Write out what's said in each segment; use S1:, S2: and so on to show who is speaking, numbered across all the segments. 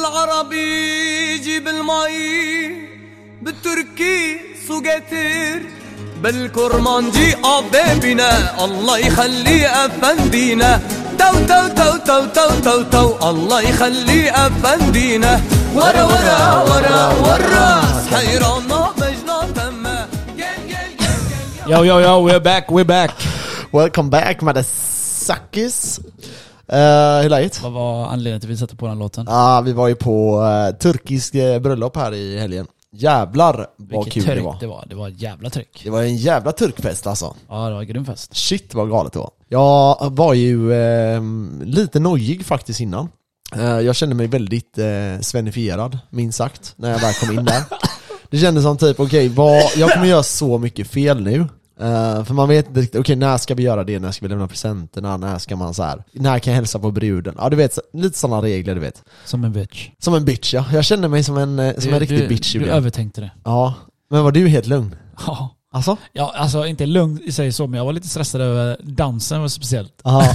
S1: بالعربي جيب المي بالتركي سجاتير بالكرمانجي أبابنا الله يخلي أفندينا تو تو تو تو تو تو تو الله يخلي أفندينا ورا ورا ورا ورا حيرانة مجنة تما جل جل جل
S2: Yo, yo, yo, we're back, we're back!
S3: Welcome back Madasakis! Uh, hur är läget?
S2: Vad var anledningen till att vi satte på den låten?
S3: Ja, vi var ju på uh, turkisk eh, bröllop här i helgen. Jävlar vad
S2: Vilket
S3: kul det
S2: tryck
S3: var.
S2: det var. Det var ett jävla tryck.
S3: Det var en jävla turkfest alltså.
S2: Ja, det var en grym fest.
S3: Shit vad galet det var. Jag var ju eh, lite nojig faktiskt innan. Eh, jag kände mig väldigt eh, svenifierad, minst sagt, när jag väl kom in där. Det kändes som typ, okej, vad, jag kommer göra så mycket fel nu. Eh, för man vet inte riktigt, okej när ska vi göra det? När ska vi lämna presenterna? När ska man så här? När kan jag hälsa på bruden? Ja du vet, så- lite sådana regler du vet.
S2: Som en bitch.
S3: Som en bitch ja, jag kände mig som en, eh, som
S2: Du-
S3: en riktig
S2: du,
S3: bitch
S2: Du
S3: ibland.
S2: övertänkte det.
S3: Ja, men var du helt lugn?
S2: Ja.
S3: Alltså?
S2: Ja, alltså inte lugn i sig så, men jag var lite stressad över dansen var speciellt.
S3: Ja.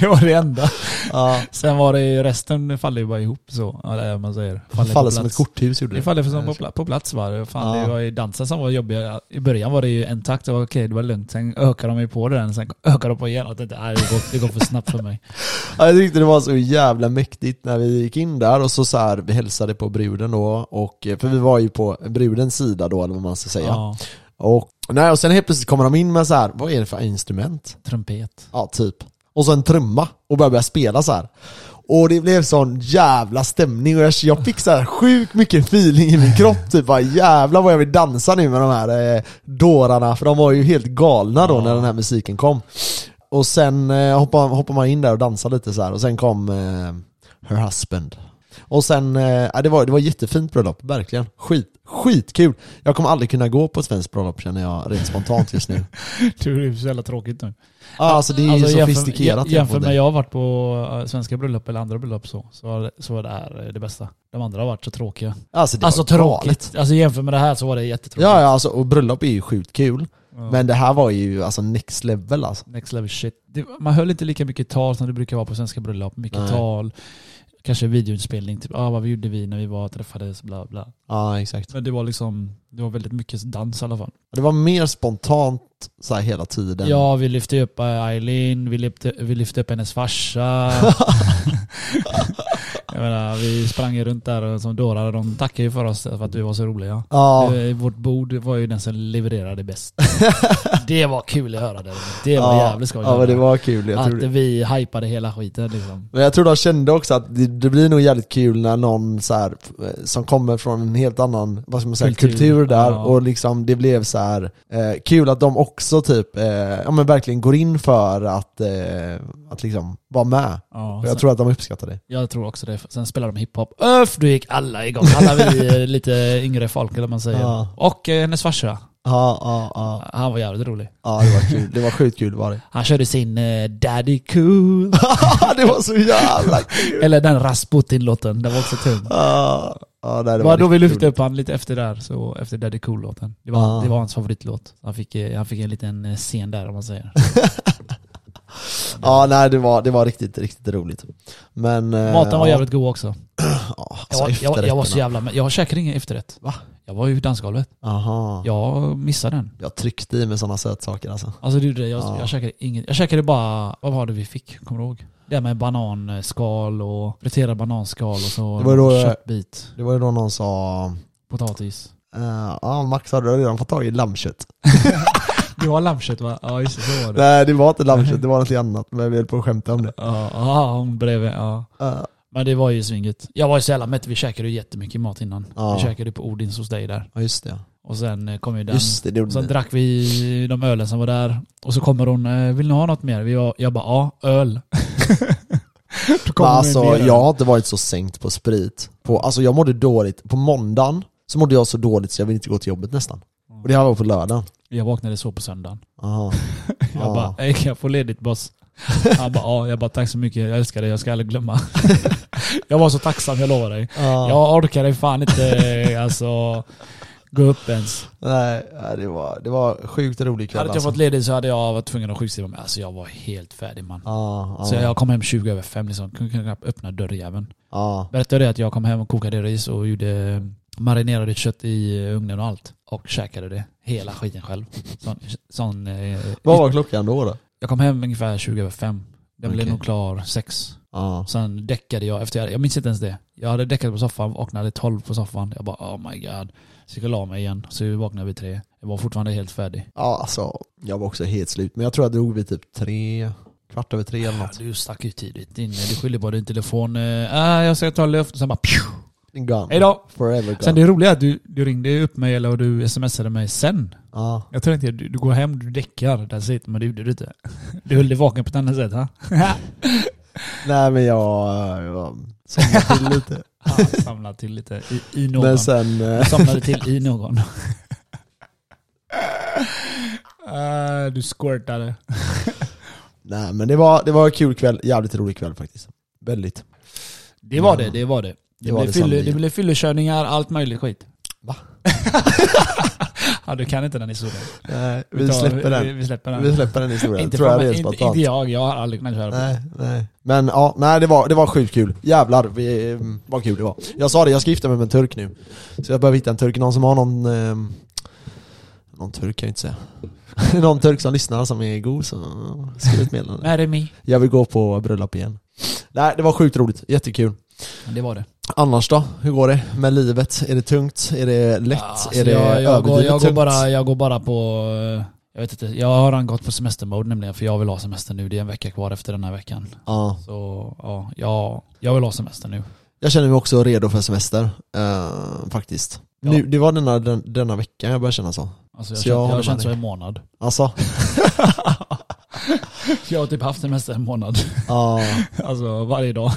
S2: Det var det enda.
S3: ja.
S2: Sen var det ju resten faller ju bara ihop så. Eller vad man säger. på
S3: Faller som
S2: plats.
S3: ett korthus gjorde
S2: Det faller som på, pla- på plats var det. Fan,
S3: Ja.
S2: det var ju dansen som var jobbig. I början var det ju en takt, det var okej, det var lugnt. Sen ökar de ju på det den, sen ökar de på igen. Och jag tänkte, nej, det, går, det går för snabbt för mig.
S3: Ja, jag tyckte det var så jävla mäktigt när vi gick in där och så, så här, vi hälsade på bruden då, och, eh, för vi var ju på brudens sida då eller vad man ska säga.
S2: Ja,
S3: Och, nej, och sen helt plötsligt kommer de in med så här, vad är det för instrument?
S2: trumpet.
S3: Ja, typ. Och så en trumma och började börja spela så här. Och det blev sån jävla stämning och jag, jag fick så här sjukt mycket feeling i min kropp typ bara jävlar vad jag vill dansa nu med de här eh, dårarna för de var ju helt galna då när den här musiken kom. Och sen eh, hoppade, hoppade man in där och dansade lite så här och sen kom eh, Her Husband. Och sen, eh, ja, det, var, det var jättefint bröllop, verkligen. Skit, skitkul. Jag kommer aldrig kunna gå på ett svenskt bröllop känner jag rent spontant just nu.
S2: Det är så jävla tråkigt nu.
S3: Ja, Alltså det är ju
S2: jämför-
S3: sofistikerat
S2: jä- Jämför
S3: jämfört
S2: med
S3: med
S2: jag har varit på eh, svenska bröllop eller andra bröllop så, så, var det- så var det här eh, det bästa. De andra har varit så tråkiga.
S3: Alltså, det
S2: alltså
S3: var galet.
S2: tråkigt. Alltså jämför med det här så var det jättetråkigt.
S3: Ja, ja alltså, och bröllop är ju sjukt kul. Men det här var ju alltså next level alltså.
S2: Next level shit. Det, man höll inte lika mycket tal som det brukar vara på svenska bröllop. Mycket
S3: Nej.
S2: tal, kanske videoinspelning. Typ, ah, vad gjorde vi när vi var och träffades? Bla, bla.
S3: Ja, exakt.
S2: Men det var liksom, det var väldigt mycket dans i alla fall.
S3: Det var mer spontant så här hela tiden.
S2: Ja, vi lyfte ju upp eh, Eileen, vi lyfte, vi lyfte upp hennes farsa. Jag menar, vi sprang ju runt där som dårar och de tackade ju för oss för att vi var så roliga.
S3: Ja,
S2: Eh, Vårt bord var ju den som levererade bäst. det var kul att höra det. Det var
S3: ja,
S2: jävligt skoj.
S3: Ja, men det var kul. Jag tror
S2: att
S3: det.
S2: vi hypade hela skiten liksom.
S3: Men jag tror de kände också att det, det blir nog jävligt kul när någon så här, eh, som kommer från en helt annan, vad ska man säga, kultur,
S2: Kultur,
S3: där
S2: ja.
S3: och liksom det blev så här eh, kul att de också typ, eh, ja men verkligen går in för att, eh, att liksom vara med.
S2: Ja,
S3: Och
S2: sen,
S3: jag tror att de uppskattar det.
S2: jag tror också det. Sen spelade de hiphop. Öff, då gick alla igång. Alla vi eh, lite yngre folk eller vad man säger.
S3: Ja.
S2: Och eh, hennes farsa.
S3: Ja, ja, ja.
S2: Han var jävligt rolig.
S3: Ja, det var kul. Det var sjukt kul var det.
S2: Han körde sin eh, Daddy Cool.
S3: det var så jävla kul!
S2: eller den Rasputin-låten. Den var också tung.
S3: Ja, ja, nej,
S2: Det var då vi lyfte upp han lite efter där, så efter Daddy Cool-låten. Det, var-
S3: Ja.
S2: det var hans favoritlåt. Han fick, eh, han fick en liten eh, scen där om man säger.
S3: Ja, nej det var, det var riktigt, riktigt roligt. Men... eh,
S2: Maten var
S3: ja,
S2: jävligt god också.
S3: Ja,
S2: Jag, var-
S3: alltså
S2: jag, jag var så
S3: efterrätterna.
S2: jävla... men Jag käkade ingen efterrätt.
S3: Va?
S2: Jag var ju dansgolvet.
S3: Aha.
S2: Jag missade den.
S3: Jag tryckte i mig sådana sötsaker alltså.
S2: Alltså det gjorde det. Jag,
S3: Ja.
S2: jag käkade inget. Jag käkade bara, vad var det vi fick? Kommer du ihåg? Det här med bananskal och friterade bananskal och så
S3: Det var då-
S2: köttbit,
S3: Det var ju då någon sa...
S2: potatis.
S3: eh, Ja Max, har du redan fått tag i lammkött?
S2: Du har lammkött va? Ja just det, så var det.
S3: Nej det var inte lammkött, det var något annat. Men vi höll på att skämta om det.
S2: Ja, ja, hon bredvid. Ja.
S3: Eh,
S2: Men det var ju svinget. Jag var ju så jävla mätt, vi käkade ju jättemycket mat innan.
S3: Ja.
S2: Vi käkade på Odins hos dig där.
S3: Ja just det.
S2: Och sen eh, kom ju den.
S3: Just det, det gjorde
S2: Sen
S3: ni.
S2: drack vi de ölen som var där. Och så kommer hon, eh, vill ni ha något mer? Vi var, jag bara, ja, öl. Då
S3: Men
S2: kommer hon med
S3: alltså
S2: en del.
S3: jag har inte varit så sänkt på sprit. På, alltså jag mådde dåligt. På måndagen så mådde jag så dåligt så jag ville inte gå till jobbet nästan. Och det här var på lördagen.
S2: jag vaknade så på söndagen.
S3: Aha.
S2: Jag
S3: Ja.
S2: bara, "Ey, kan jag få ledigt boss? Han bara, ja. Jag bara, tack så mycket. Jag älskar dig. Jag ska aldrig glömma. jag var så tacksam, jag lovar dig.
S3: Ja.
S2: Jag orkade fan inte eh, alltså, gå upp ens.
S3: Nej, nej, det var, det var sjukt rolig kväll
S2: Hade inte jag
S3: alltså.
S2: fått ledigt så hade jag varit tvungen att sjukskriva mig. Alltså jag var helt färdig man.
S3: Ja, ja,
S2: Så jag kom hem 20 över fem liksom. Kunde knappt öppna dörrjäveln.
S3: ja.
S2: Berättade det att jag kom hem och kokade ris och gjorde marinerade kött i ugnen och allt. Och käkade det. Hela skiten själv. Sån, sån, eh,
S3: Vad var klockan då? då?
S2: jag kom hem ungefär 20 över fem. Den blev
S3: Okej.
S2: nog klar sex.
S3: Ja.
S2: Sen däckade jag efter jag, jag minns inte ens det. Jag hade däckat på soffan, vaknade 12 på soffan. Jag bara oh my god. Så gick jag och la mig igen. Så vaknade vi tre. Jag var fortfarande helt färdig.
S3: ja, alltså jag var också helt slut. Men jag tror jag drog vid typ tre, kvart över tre eller
S2: Ja,
S3: något.
S2: du stack ju tidigt in. Du skyller på din telefon. Eh, Ah, jag ska ta luft. Och sen bara pju,
S3: Gone.
S2: hejdå.
S3: Forever gone.
S2: Sen det roliga är att du, du ringde upp mig eller och du smsade mig sen.
S3: ja.
S2: Jag tror inte du, du går hem, du däckar, that's it. Men det gjorde du inte. Du höll dig vaken på ett annat sätt. Ha?
S3: Nej men jag, jag somnade till lite.
S2: Ah, Samlade till lite i, i någon.
S3: Men sen, eh,
S2: Somnade till i någon. Ah, du squirtade.
S3: nej men det var, det var en kul kväll, jävligt rolig kväll faktiskt. Väldigt.
S2: Det var det, det var det. Det,
S3: Det var
S2: blev,
S3: det
S2: fylle,
S3: sannerligen.
S2: det blev fyllekörningar, allt möjligt skit.
S3: Va?
S2: ja, du kan inte den historien.
S3: Nej, vi,
S2: tar-
S3: släpper den.
S2: Vi, vi släpper den.
S3: Vi släpper den historien,
S2: inte,
S3: tror
S2: för
S3: jag
S2: mig,
S3: rent
S2: inte,
S3: spontant.
S2: inte jag, jag har aldrig kunnat köra på det.
S3: Nej, nej. Men ja, nej det var, det var sjukt kul. Jävlar vi, eh, vad kul det var. Jag sa det, jag ska gifta mig med en turk nu. Så jag behöver hitta en turk, någon som har någon... ehm, någon turk kan jag inte säga. någon turk som lyssnar som är god så skriv ett meddelande.
S2: Marry me.
S3: Jag vill gå på bröllop igen. Nej, det var sjukt roligt. Jättekul.
S2: Det var det.
S3: Annars då? Hur går det med livet? Är det tungt? Är det lätt?
S2: Alltså,
S3: är det
S2: jag, jag, går,
S3: överdrivet
S2: jag, går
S3: tungt?
S2: bara, jag går bara på... eh, Jag vet inte, jag har redan gått på semestermode nämligen för jag vill ha semester nu. Det är en vecka kvar efter den här veckan.
S3: Ja.
S2: Så ja, jag, jag vill ha semester nu.
S3: Jag känner mig också redo för semester, eh, faktiskt.
S2: Ja.
S3: Nu, det var denna, den, denna veckan jag började känna så.
S2: Alltså, jag,
S3: Så
S2: känner-
S3: jag
S2: jag har
S3: håller
S2: känt
S3: med
S2: så i en månad.
S3: Alltså,
S2: Jag har typ haft semester en månad.
S3: ja.
S2: Alltså varje dag.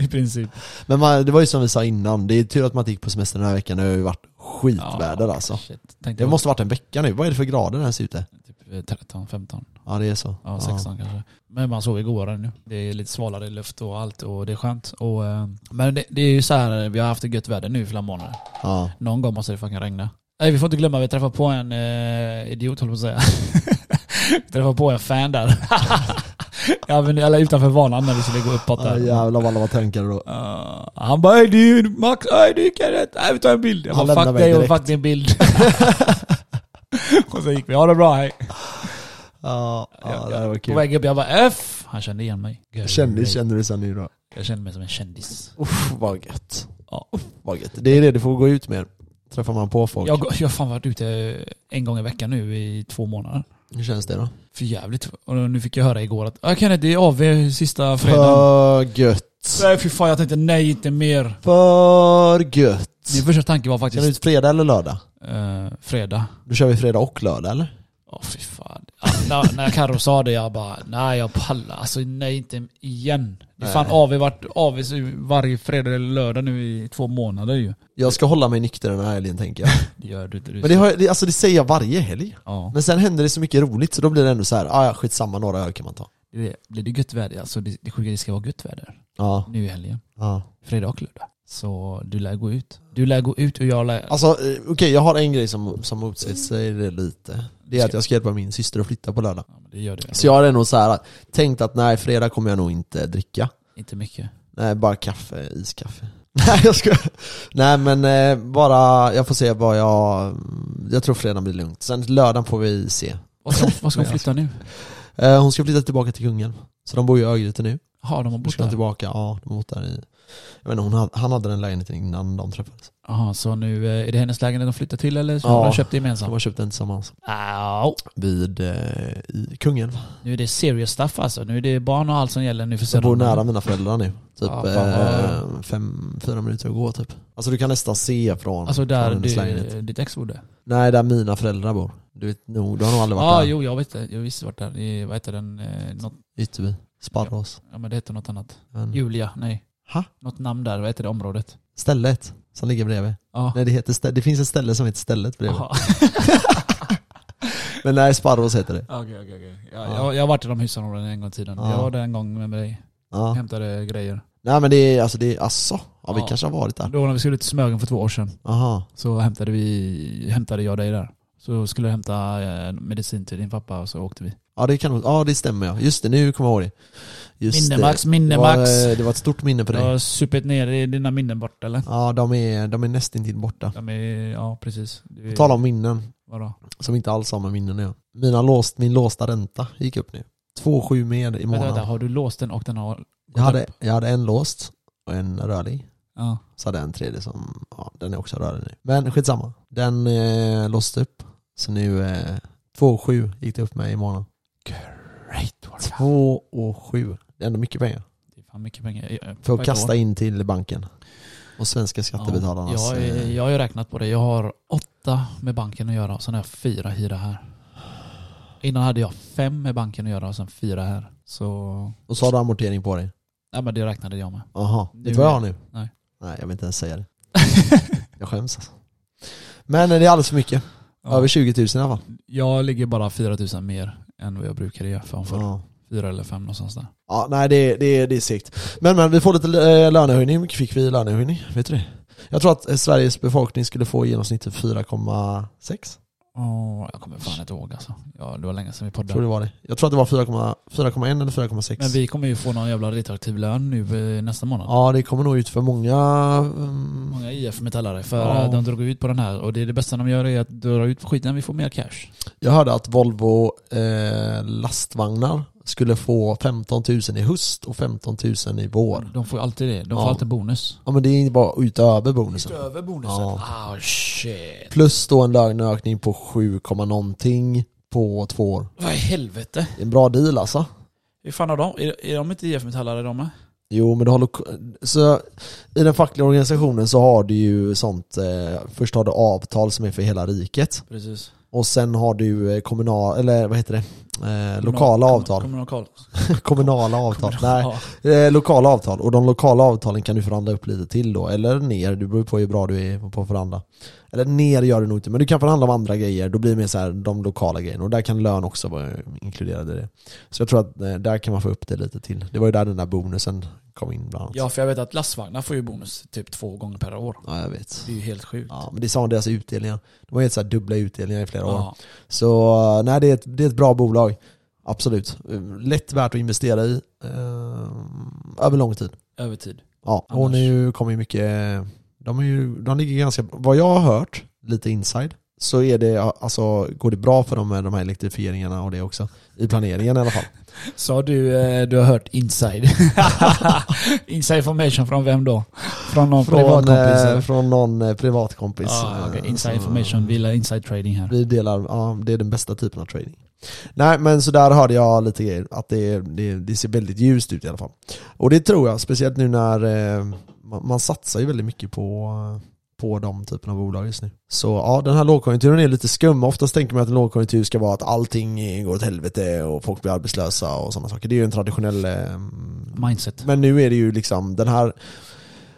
S2: I princip.
S3: Men man, det var ju som vi sa innan, det är tur att man inte gick på semester den här veckan, det har ju varit skitväder alltså.
S2: Shit. Tänkte
S3: Det
S2: jag
S3: måste varit en vecka nu, vad är det för grader här ute?
S2: typ eh, 13, 15,
S3: Ja det är så.
S2: ja 16 kanske. Men man sover godare nu. Det är lite svalare luft och allt och det är skönt. Och, eh, men det, det är ju så här, vi har haft det gött väder nu i flera månader.
S3: Ja.
S2: Någon gång måste det fucking regna. Nej vi får inte glömma, vi träffar på en eh, idiot höll jag på att säga. vi träffar på en fan där. ja, men, eller utanför vanan när vi skulle gå uppåt
S3: Ah, Ja,
S2: där.
S3: jävlar vad alla var tänkare då.
S2: Eh, han bara "Hej, du Max, hej du Kenneth, Nej, vi tar en bild. Jag
S3: Han
S2: bara
S3: lämnar
S2: fuck
S3: mig
S2: dig och
S3: direkt.
S2: fuck din bild. och så gick vi, ha det bra hej.
S3: Ja, ja det här var
S2: På
S3: kul.
S2: väg upp jag bara F. Han kände igen mig.
S3: Kändis känner du sen nu då?
S2: Jag kände mig som en kändis.
S3: Uff, vad gött.
S2: Ja.
S3: Uff, vad gött. Det är det du får gå ut med. Träffar man på folk.
S2: Jag, jag har fan varit ute eh, en gång i veckan nu i två månader.
S3: Hur känns det då?
S2: För jävligt. Och nu fick jag höra igår att ah, Kenneth, det är AV sista fredagen.
S3: För gött.
S2: Nej fy fan jag tänkte nej inte mer.
S3: För gött.
S2: Min första tanke var
S3: Ska du
S2: faktiskt
S3: ut fredag eller lördag?
S2: eh, fredag.
S3: Då kör vi fredag och lördag eller?
S2: Åh fy fan. Ja, när, när Karo sa det jag bara nej jag pallar. Alltså nej inte igen. Det är fan AV varit AV varje fredag eller lördag nu i två månader ju.
S3: Jag ska hålla mig nykter den här helgen tänker jag.
S2: Det gör du inte. Du
S3: Men det, har, jag- det, alltså, det säger jag varje helg.
S2: ja.
S3: Men sen händer det så mycket roligt så då blir det ändå så här, ah, ja skitsamma, några öl kan man ta.
S2: Det blir det gött väder, alltså det, det sjuka det ska vara gött väder
S3: Ja.
S2: nu i helgen.
S3: ja.
S2: Fredag och lördag. Så du lär gå ut. Du lär gå ut och jag lär...
S3: Alltså eh, okej, jag har en grej som, som motsäger det lite. Det är att jag ska hjälpa min syster att flytta på lördag.
S2: Ja, men det gör du. alltså.
S3: Så jag hade nog så här, tänkt att nej, fredag kommer jag nog inte dricka.
S2: Inte mycket.
S3: Nej, bara kaffe, iskaffe. Nej jag ska. Nej men eh, bara, jag får se vad jag, jag tror fredagen blir lugnt. Sen lördagen får vi se.
S2: Vad ska, vad ska hon
S3: Men
S2: flytta nu?
S3: Eh, Hon ska flytta tillbaka till Kungälv. Så de bor ju i Örgryte nu.
S2: Ja, de har
S3: Hon
S2: bott
S3: ska
S2: där.
S3: tillbaka, ja de har bott där i... Jag vet inte, hon hade, han hade den lägenheten innan de träffades.
S2: Jaha, så nu eh, är det hennes lägenhet de flyttar till eller så
S3: Ja.
S2: har de köpt det
S3: De
S2: gemensamt?
S3: har köpt den tillsammans.
S2: Au.
S3: Vid, eh, i Kungälv.
S2: Nu är det serious stuff alltså. Nu är det barn och allt som gäller nu för
S3: De
S2: söndag.
S3: bor nära mina föräldrar nu. Typ
S2: Ja, fan, vad-
S3: eh, fem, fyra minuter att gå typ. Alltså du kan nästan se från,
S2: Alltså
S3: från
S2: där
S3: hennes lägenhet.
S2: du, ditt ex bodde?
S3: Nej, där mina föräldrar bor. Du vet nog, du har nog aldrig
S2: Ja,
S3: varit
S2: ah,
S3: där.
S2: jo jag vet det. Jag visste vart där. I, vad heter den? Eh, något,
S3: Ytterby. Sparros.
S2: ja men det heter något annat.
S3: Men-
S2: Julia, nej.
S3: Mm. Ha?
S2: Något namn där, vad heter det området?
S3: Stället som ligger bredvid.
S2: Ja.
S3: Nej, det, heter stä- det finns ett ställe som heter Stället bredvid.
S2: Jaha.
S3: Men nej, Sparros heter det.
S2: Okej, okej, okej. Ja,
S3: Ja.
S2: Jag, jag har varit i de husområdena en gång i tiden.
S3: Ja.
S2: Jag var där en gång med dig.
S3: Ja.
S2: Hämtade grejer.
S3: Nej men det är alltså, det är, asså? Ja, vi
S2: Ja. Mm.
S3: kanske har varit där.
S2: Då när vi skulle till Smögen för två år sedan
S3: Aha.
S2: så hämtade, vi, hämtade jag dig där. Så skulle jag hämta eh, medicin till din pappa och så åkte vi.
S3: Ja det, kan, nog- ja det stämmer ja. Just det, nu kommer jag ihåg det. Just
S2: Minnemax,
S3: det. Det, var,
S2: minnemax.
S3: eh, det var ett stort minne på
S2: Du
S3: dig.
S2: har supit ner i dina minnen bort eller?
S3: Ja, de är, de är nästintill borta.
S2: De är, ja precis. Du,
S3: På tal om minnen,
S2: Vadå?
S3: som inte alls har med minnen att göra. Mina låst, min låsta ränta gick upp nu. 2,7 med i
S2: Vänta, vänta,
S3: månaden.
S2: har du låst den och den har...
S3: Jag hade, jag hade en låst och en rörlig.
S2: Ja.
S3: Så hade jag en tredje som, ja den är också rörlig nu. Men skitsamma. Den eh, låste upp. Så nu, eh, 2,7 gick det upp med i månaden.
S2: Great work.
S3: 2,7. Det är ändå mycket pengar.
S2: Det är fan mycket pengar.
S3: För
S2: Eh, på
S3: att
S2: ett
S3: kasta
S2: år.
S3: in till banken. Och svenska skattebetalarnas...
S2: Ja,
S3: eh,
S2: jag, jag har ju räknat på det. Jag har åtta med banken att göra och sen har jag fyra hyra här. Innan hade jag fem med banken att göra och sen fyra här. Så...
S3: Och så har du amortering på dig.
S2: Ja men det räknade jag med.
S3: Jaha,
S2: Nu
S3: vet du vad jag har nu?
S2: Nej.
S3: Nej, jag vill inte ens säga det. Jag skäms alltså. Men eh, det är alldeles för mycket. Över 20 000 i alla fall.
S2: Jag ligger bara 4000 mer än vad jag brukade göra för för
S3: Ja.
S2: fyra eller fem någonstans där.
S3: ja, nej det, det, det är segt. Men men, vi får lite eh, lönehöjning. Hur mycket fick vi i lönehöjning? Vet du det? Jag tror att eh, Sveriges befolkning skulle få i genomsnitt typ 4,6.
S2: Åh, jag kommer fan inte ihåg alltså. Ja, det var länge sedan vi
S3: Tror
S2: poddade.
S3: det var det. Jag tror att det var 4,1 4,1 eller 4,6.
S2: Men vi kommer ju få någon jävla retroaktiv lön nu eh, nästa månad.
S3: Ja, det kommer nog ut för många... mm,
S2: Många IF-metallare för
S3: Ja.
S2: de drog ut på den här och det, är det bästa de gör är att dra ut på skiten, vi får mer cash.
S3: Jag hörde att Volvo eh, lastvagnar skulle få 15 000 i höst och 15 000 i vår.
S2: De får ju alltid det, de
S3: Ja.
S2: får alltid bonus.
S3: Ja men det är bara utöver bonusen.
S2: Utöver bonusen?
S3: Ja.
S2: Ah shit.
S3: Plus då en löneökning på 7, komma någonting på två år.
S2: Vad i helvete?
S3: Det är en bra deal alltså.
S2: Hur fan har de? Är, är de inte IF-metallare de med?
S3: Jo men du har lok- så I den fackliga organisationen så har du ju sånt, eh, först har du avtal som är för hela riket
S2: Precis.
S3: och sen har du eh, kommunal, eller vad heter det? Eh, lokala avtal.
S2: Kommer de koll?
S3: Kommunala avtal. Nej.
S2: Ja.
S3: Eh, lokala avtal och de lokala avtalen kan du förhandla upp lite till då eller ner, det beror ju på hur bra du är på att förhandla. Eller ner gör du nog inte, men du kan förhandla om andra grejer, då blir det mer så här, de lokala grejerna och där kan lön också vara inkluderad i det. Så jag tror att eh, där kan man få upp det lite till. Det var ju där den där bonusen kom in bland annat.
S2: ja, för jag vet att lastvagnar får ju bonus typ två gånger per år.
S3: Ja, jag vet.
S2: Det är ju helt sjukt.
S3: Ja, men det sa deras utdelningar. De har helt så här dubbla utdelningar i flera år.
S2: Ja.
S3: Så eh, nej, det är, ett, det är ett bra bolag. Absolut. Eh, Lätt värt att investera i. Eh, över lång tid.
S2: Övertid.
S3: Ja, och
S2: Annars-
S3: nu kommer ju mycket, de, är ju, de ligger ganska, vad jag har hört, lite inside, så är det, alltså, går det bra för dem med de här elektrifieringarna och det också. I planeringen i alla fall.
S2: Sa du, eh, du har hört inside? inside information från vem då? Från någon
S3: Från,
S2: privatkompis?
S3: eh,
S2: eller?
S3: från någon eh, privatkompis.
S2: Ah, okej.
S3: eh,
S2: Inside
S3: som-
S2: information, vi gillar inside trading här.
S3: Vi delar, ja det är den bästa typen av trading. Nej men så där hörde jag lite grejer, att det, det, det ser väldigt ljust ut i alla fall. Och det tror jag, speciellt nu när eh, man, man satsar ju väldigt mycket på, eh, på de typerna av bolag just nu. Så ja, den här lågkonjunkturen är lite skum. Oftast tänker man att en lågkonjunktur ska vara att allting går åt helvete och folk blir arbetslösa och sådana saker. Det är ju en traditionell eh,
S2: Mindset.
S3: men nu är det ju liksom den här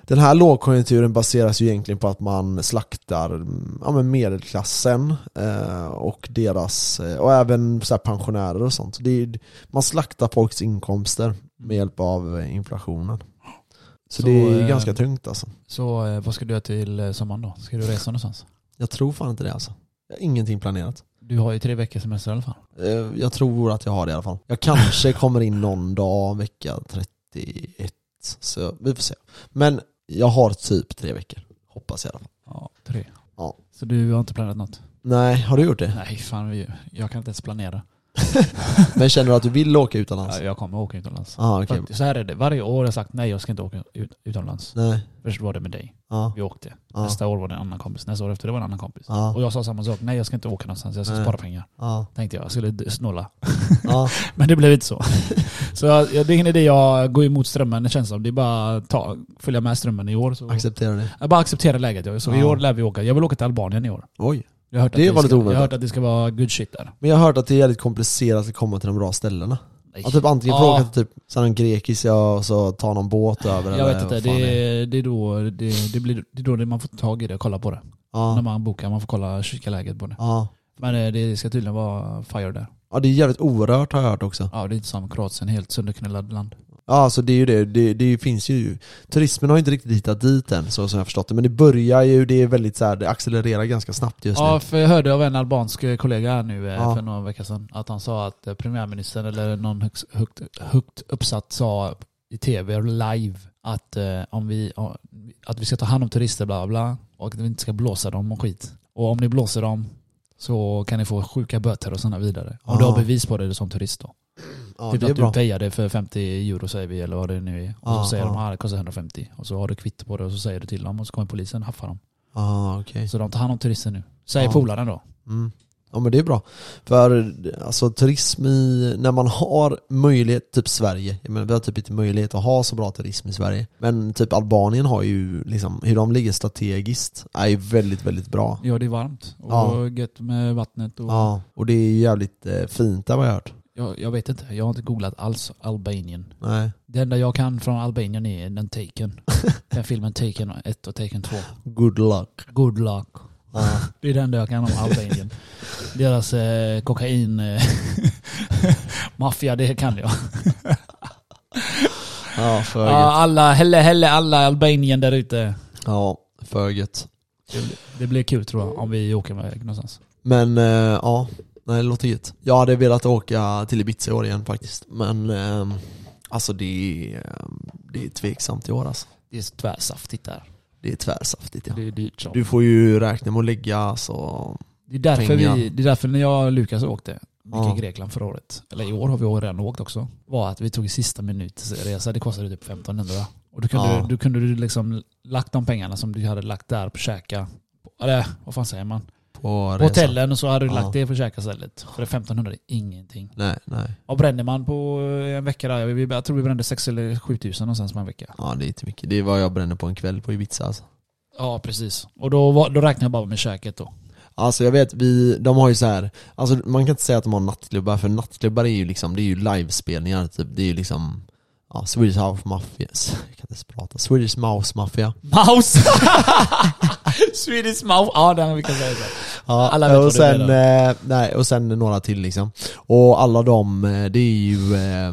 S3: den här lågkonjunkturen baseras ju egentligen på att man slaktar mm, ja, men medelklassen eh, och deras, eh, och även så här pensionärer och sånt. Det är, man slaktar folks inkomster med hjälp av eh, inflationen. Så,
S2: Så,
S3: det är
S2: eh,
S3: ganska tungt alltså.
S2: Så eh, vad ska du göra till eh, sommaren då? Ska du resa någonstans?
S3: Jag tror fan inte det alltså. Jag har ingenting planerat.
S2: Du har ju tre veckors semester i alla fall.
S3: Eh, jag tror att jag har det i alla fall. Jag kanske kommer in någon dag vecka 31. Så vi får se. Men jag har typ tre veckor. Hoppas jag i alla fall.
S2: Ja, tre.
S3: Ja.
S2: Så du har inte planerat något?
S3: Nej, har du gjort det?
S2: Nej, fan vi, jag kan inte ens planera.
S3: Men känner du att du vill åka utomlands?
S2: Ja, Jag kommer åka utomlands.
S3: Ja, okej.
S2: Så här är det, varje år har jag sagt nej jag ska inte åka ut, utomlands.
S3: Nej. Ah,
S2: Först var det med dig,
S3: Ja.
S2: vi åkte.
S3: Ja.
S2: Nästa år var det en annan kompis, nästa år efter det var det en annan kompis.
S3: Ja.
S2: Och jag sa samma sak, nej jag ska inte åka någonstans, jag ska
S3: Nej.
S2: spara pengar.
S3: Ja.
S2: Tänkte jag, jag skulle d- snåla.
S3: Ja.
S2: Men det blev inte så. så jag, det är ingen idé jag går emot strömmen, det känns som. Det är bara att ta, följa med strömmen i år. Så.
S3: Accepterar det.
S2: Jag bara accepterar läget. jag- Så i
S3: Ja.
S2: år lär vi åka. Jag vill åka till Albanien i år.
S3: Oj.
S2: Jag har hört att
S3: Det var
S2: ska,
S3: lite
S2: Jag har
S3: oväntat.
S2: hört att det ska vara good shit där.
S3: Men jag har hört att det är väldigt komplicerat att komma till de bra ställena.
S2: Nej.
S3: Att typ antingen
S2: Ja.
S3: får åka till typ så här en grekisk ja, och så ta någon båt över
S2: Jag
S3: eller
S2: vet inte,
S3: vad fan
S2: det, är- det, är då, det, det, blir, det är då det man får tag i det och kolla på det. När
S3: Ja.
S2: man bokar, man får kolla kika läget på det.
S3: Ja.
S2: Men eh, det ska tydligen vara fire där.
S3: ja, det är jävligt orört har jag hört också.
S2: Ja, det är inte som Kroatien, helt sönderknullad land.
S3: Ja, så det är ju det. det. Det finns ju... Turismen har ju inte riktigt hittat dit än, så som jag har förstått det. Men det börjar ju, det är väldigt så här, det accelererar ganska snabbt just
S2: Ja,
S3: nu.
S2: för jag hörde av en albansk kollega här nu eh,
S3: Ja.
S2: för några veckor sedan att han sa att eh, premiärministern eller någon högst, högt, högt uppsatt sa i tv live att, eh, om vi, ja, att vi ska ta hand om turister bla bla, bla och att vi inte ska blåsa dem och skit. Och om ni blåser dem så kan ni få sjuka böter och sådana vidare. Om du
S3: Ah.
S2: har bevis på det som turist då.
S3: Ja,
S2: typ
S3: det är
S2: att
S3: bra.
S2: du pejade för 50 euro säger vi eller vad det nu är. Och
S3: Ah,
S2: så säger de
S3: ah.
S2: att det kostar 150. Och så har du kvitto på det och så säger du till dem och så kommer polisen och haffar dem.
S3: Ja, Ah, okej.
S2: Så de tar hand om turister nu. Säger
S3: Ah.
S2: polaren då.
S3: Mm. Ja men det är bra. För alltså turism i, när man har möjlighet, typ Sverige, jag menar, vi har typ inte möjlighet att ha så bra turism i Sverige. Men typ Albanien har ju liksom, hur de ligger strategiskt är ju väldigt, väldigt bra.
S2: Ja, det är varmt och
S3: Ja.
S2: gött med vattnet. Och
S3: Ja, och det är ju jävligt eh, fint där vad jag har hört.
S2: jag, jag vet inte, jag har inte googlat alls Albanien.
S3: Nej.
S2: Det enda jag kan från Albanien är den Taken. den filmen Taken 1 och Taken 2.
S3: Good luck.
S2: Good luck.
S3: Ja.
S2: Det är det enda jag kan om Albanien. Deras eh, kokain... Eh, maffia, det kan jag.
S3: Ja, för
S2: Ja,
S3: gött.
S2: alla, helle helle, alla Albanien där ute.
S3: Ja, för gött.
S2: Det blir- Det blir kul tror jag, om vi åker iväg någonstans.
S3: Men eh, ja, nej, det låter gött. Jag hade velat åka till Ibiza i år igen faktiskt. Men ehm, alltså det är, ehm, det är tveksamt i år alltså.
S2: Det är tvärsaftigt där.
S3: Det är tvärsaftigt ja.
S2: Det är dyrt som
S3: Du får ju räkna med att lägga alltså, så...
S2: Det är därför, vi,
S3: Pengar.
S2: det är därför när jag och Lukas åkte, vi gick
S3: Ja.
S2: i Grekland förra året, eller i år har vi redan åkt också, var att vi tog i sista minutresa, det kostade typ 1500. Och då kunde,
S3: Ja.
S2: du, då kunde du liksom lagt de pengarna som du hade lagt där på käka, på- eller vad fan säger man?
S3: På
S2: På hotellen och så hade du
S3: Ja.
S2: lagt det på käka istället. För det 1500 är ingenting.
S3: Nej, nej.
S2: Vad bränner man på eh, en vecka där? Vi- Jag tror vi brände 6 eller 7000 någonstans på en vecka.
S3: Ja det är inte mycket. Det är vad jag bränner på en kväll på Ibiza alltså.
S2: Ja precis. Och då, var- då räknade jag bara med käket då.
S3: Alltså jag vet, vi, de har ju så här. Alltså man kan inte säga att de har nattklubbar för nattklubbar är ju liksom, det är ju livespelningar typ. Det är ju liksom, ja Swedish House Mafia. Jag kan inte ens prata. Swedish Mouse Mafia.
S2: Mouse! Swedish mouse. Ja den vi kan säga så.
S3: Ja,
S2: Alla vet vad
S3: och
S2: du
S3: sen, eh, nej, och sen några till liksom. Och alla de, eh, det är ju... Eh,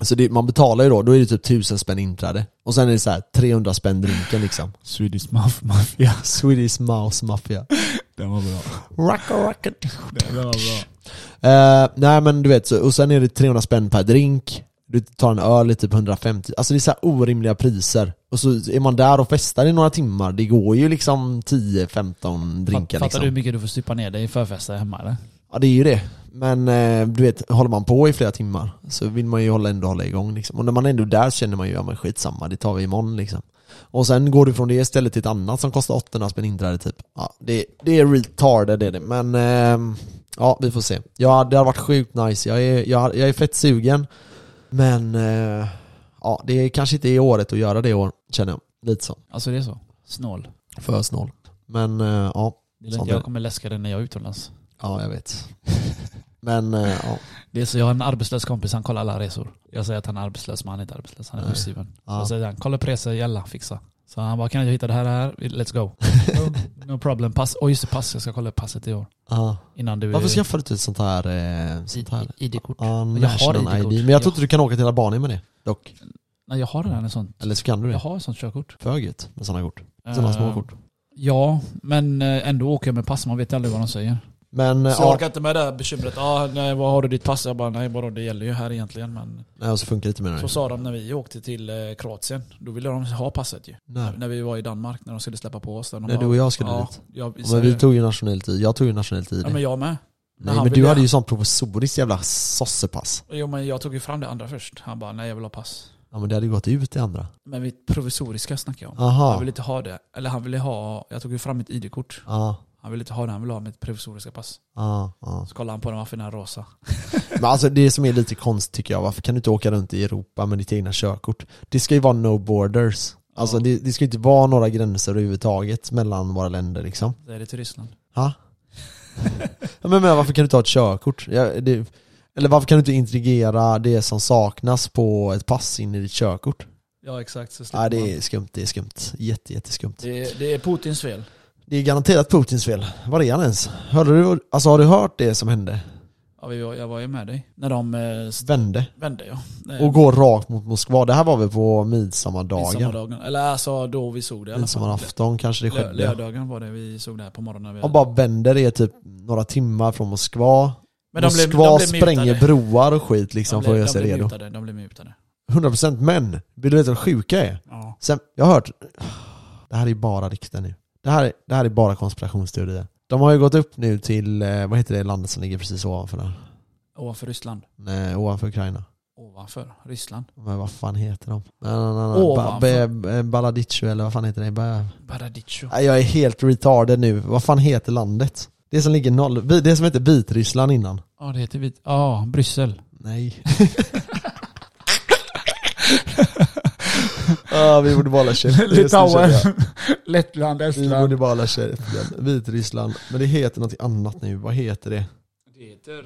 S3: så det, man betalar ju då, då är det typ 1000 spänn inträde. Och sen är det så här 300 spänn drinken liksom.
S2: Swedish Mouth Mafia.
S3: Swedish Mouse Mafia.
S2: Den var bra.
S3: Rocka rocket.
S2: Den var bra.
S3: Eh, nej men du vet, så, och sen är det 300 spänn per drink. Du tar en öl i typ 150. Alltså det är så här orimliga priser. Och så är man där och festar i några timmar. Det går ju liksom 10-15 drinkar
S2: Fattar
S3: liksom.
S2: du hur mycket du får supa ner dig i förfester hemma eller?
S3: Ja det är ju det. Men eh, du vet, håller man på i flera timmar så vill man ju hålla, ändå hålla igång liksom. Och när man är ändå är där så känner man ju, ja men skitsamma, det tar vi imorgon liksom. Och sen går du från det stället till ett annat som kostar 800 spänn inträde typ. Ja, det, det är retarded det är det. Men ehm, ja, vi får se. Ja, det har varit sjukt nice. Jag är, jag, jag är fett sugen. Men eh, ja, det är kanske inte är året att göra det i år, känner jag. Lite så.
S2: Alltså det är så. Snål.
S3: För snål. Men eh, ja,
S2: Det är lugnt,
S3: Sånt är
S2: jag
S3: det.
S2: kommer läska dig när jag är utomlands.
S3: ja jag vet. Men eh, ja.
S2: Det är så, jag har en arbetslös kompis, han kollar alla resor. Jag säger att han är arbetslös, men han är inte arbetslös. Han är
S3: Nej.
S2: sjukskriven.
S3: Ja.
S2: Så säger han, kolla upp resor, jalla, fixa. Så han bara, kan jag hitta det här, det här? Let's go. no, no problem. Pass. Åh just det, pass. Jag ska kolla upp passet i år.
S3: ja.
S2: Innan du...
S3: Varför skaffade du inte ett sånt här... Eh, sånt här
S2: I- ID-kort?
S3: ja,
S2: Eh, jag har
S3: national
S2: ID-kort.
S3: Men jag tror inte du kan åka till Albanien med det, dock.
S2: Nej, jag har redan en sån.
S3: Eller så kan du
S2: Jag
S3: det.
S2: har ett sånt körkort.
S3: För gött med sådana kort. Sådana små
S2: Eh,
S3: kort.
S2: Ja, men eh, ändå åker jag med pass. Man vet aldrig vad de säger.
S3: Men eh,
S2: Så jag
S3: ja,
S2: orkar inte med det här bekymret. Ah, nej, vad har du ditt pass? Jag bara, nej bara det gäller ju här egentligen. Men
S3: nej, och så funkar det inte menar
S2: så
S3: du?
S2: sa de när vi åkte till eh, Kroatien. Då ville de ha passet ju.
S3: Nej.
S2: När vi var i Danmark, när de skulle släppa på oss. där. De
S3: När
S2: bara,
S3: du och jag skulle
S2: ja,
S3: dit.
S2: Jag,
S3: Men vi tog ju nationellt i, jag tog ju nationellt i
S2: ja,
S3: det.
S2: men jag med.
S3: Nej
S2: han
S3: men du
S2: ville-
S3: hade ju sånt provisoriskt jävla sossepass.
S2: Jo men jag tog ju fram det andra först. Han bara, nej jag vill ha pass.
S3: Ja men det hade ju gått ut i andra.
S2: Men mitt provisoriska snackar jag om. Han
S3: Aha.
S2: ville inte ha det. Eller han ville ha, jag tog ju fram mitt ID-kort.
S3: Ja,
S2: Han ville inte ha det, han ville ha mitt provisoriska pass.
S3: ja, ja.
S2: Så kollade han på den, varför är den här rosa?
S3: Men alltså det som är lite konstigt tycker jag, varför kan du inte åka runt i Europa med ditt egna körkort? Det ska ju vara no borders. Alltså
S2: Ja.
S3: det, det ska ju inte vara några gränser överhuvudtaget mellan våra länder liksom.
S2: Det är det till Ryssland.
S3: Ha? ja, men, men varför kan du inte ha ett körkort? Ja, det, eller varför kan du inte integrera det som saknas på ett pass in i ditt körkort?
S2: Ja exakt, så slipper
S3: Nej det
S2: man.
S3: är skumt, det är skumt. Jätte, jätteskumt.
S2: Det, är, det är Putins fel.
S3: Det är garanterat Putins fel. Var är han ens? Hörde du, alltså har du hört det som hände?
S2: Ja, vi var, jag var ju med dig. När de eh, s-
S3: Vände
S2: vände ja. Eh,
S3: och går rakt mot Moskva. Det här var väl på midsommardagen?
S2: midsommardagen. Eller alltså då vi såg det i alla fall.
S3: Midsommarafton kanske det
S2: Lö-
S3: skedde.
S2: lördagen var det vi såg det här på morgonen. När vi
S3: Och bara vänder är typ några timmar från Moskva.
S2: Men de blev-
S3: Moskva
S2: de blev
S3: spränger
S2: mutade.
S3: broar och skit liksom
S2: de
S3: för att
S2: blev-
S3: göra
S2: de
S3: sig
S2: blev
S3: redo.
S2: mutade, De blev mutade.
S3: 100% män. Vill du veta vad sjuka är?
S2: Ja.
S3: Sen, jag har hört, det här är bara rykten nu. Det här, det här är bara konspirationsteorier. De har ju gått upp nu till, eh, vad heter det landet som ligger precis ovanför där?
S2: Ovanför Ryssland.
S3: Nej, ovanför Ukraina.
S2: Ovanför Ryssland.
S3: Men vad fan heter de? Nej, nej, nej, nej. Ba-
S2: Ovanför.
S3: Be- eh, Baladichu eller vad fan heter det? Ba-
S2: Baradicho.
S3: Nej, jag är helt retarded nu. Vad fan heter landet? Det som ligger noll, vi- det som hette Vitryssland innan.
S2: Ja, det heter vit. Ja, Bryssel.
S3: Nej. ah, vi borde bara hålla käften. Just nu känner jag.
S2: Lettland,
S3: Vi borde bara hålla käften. Vitryssland. Men det heter något annat nu. Vad heter det?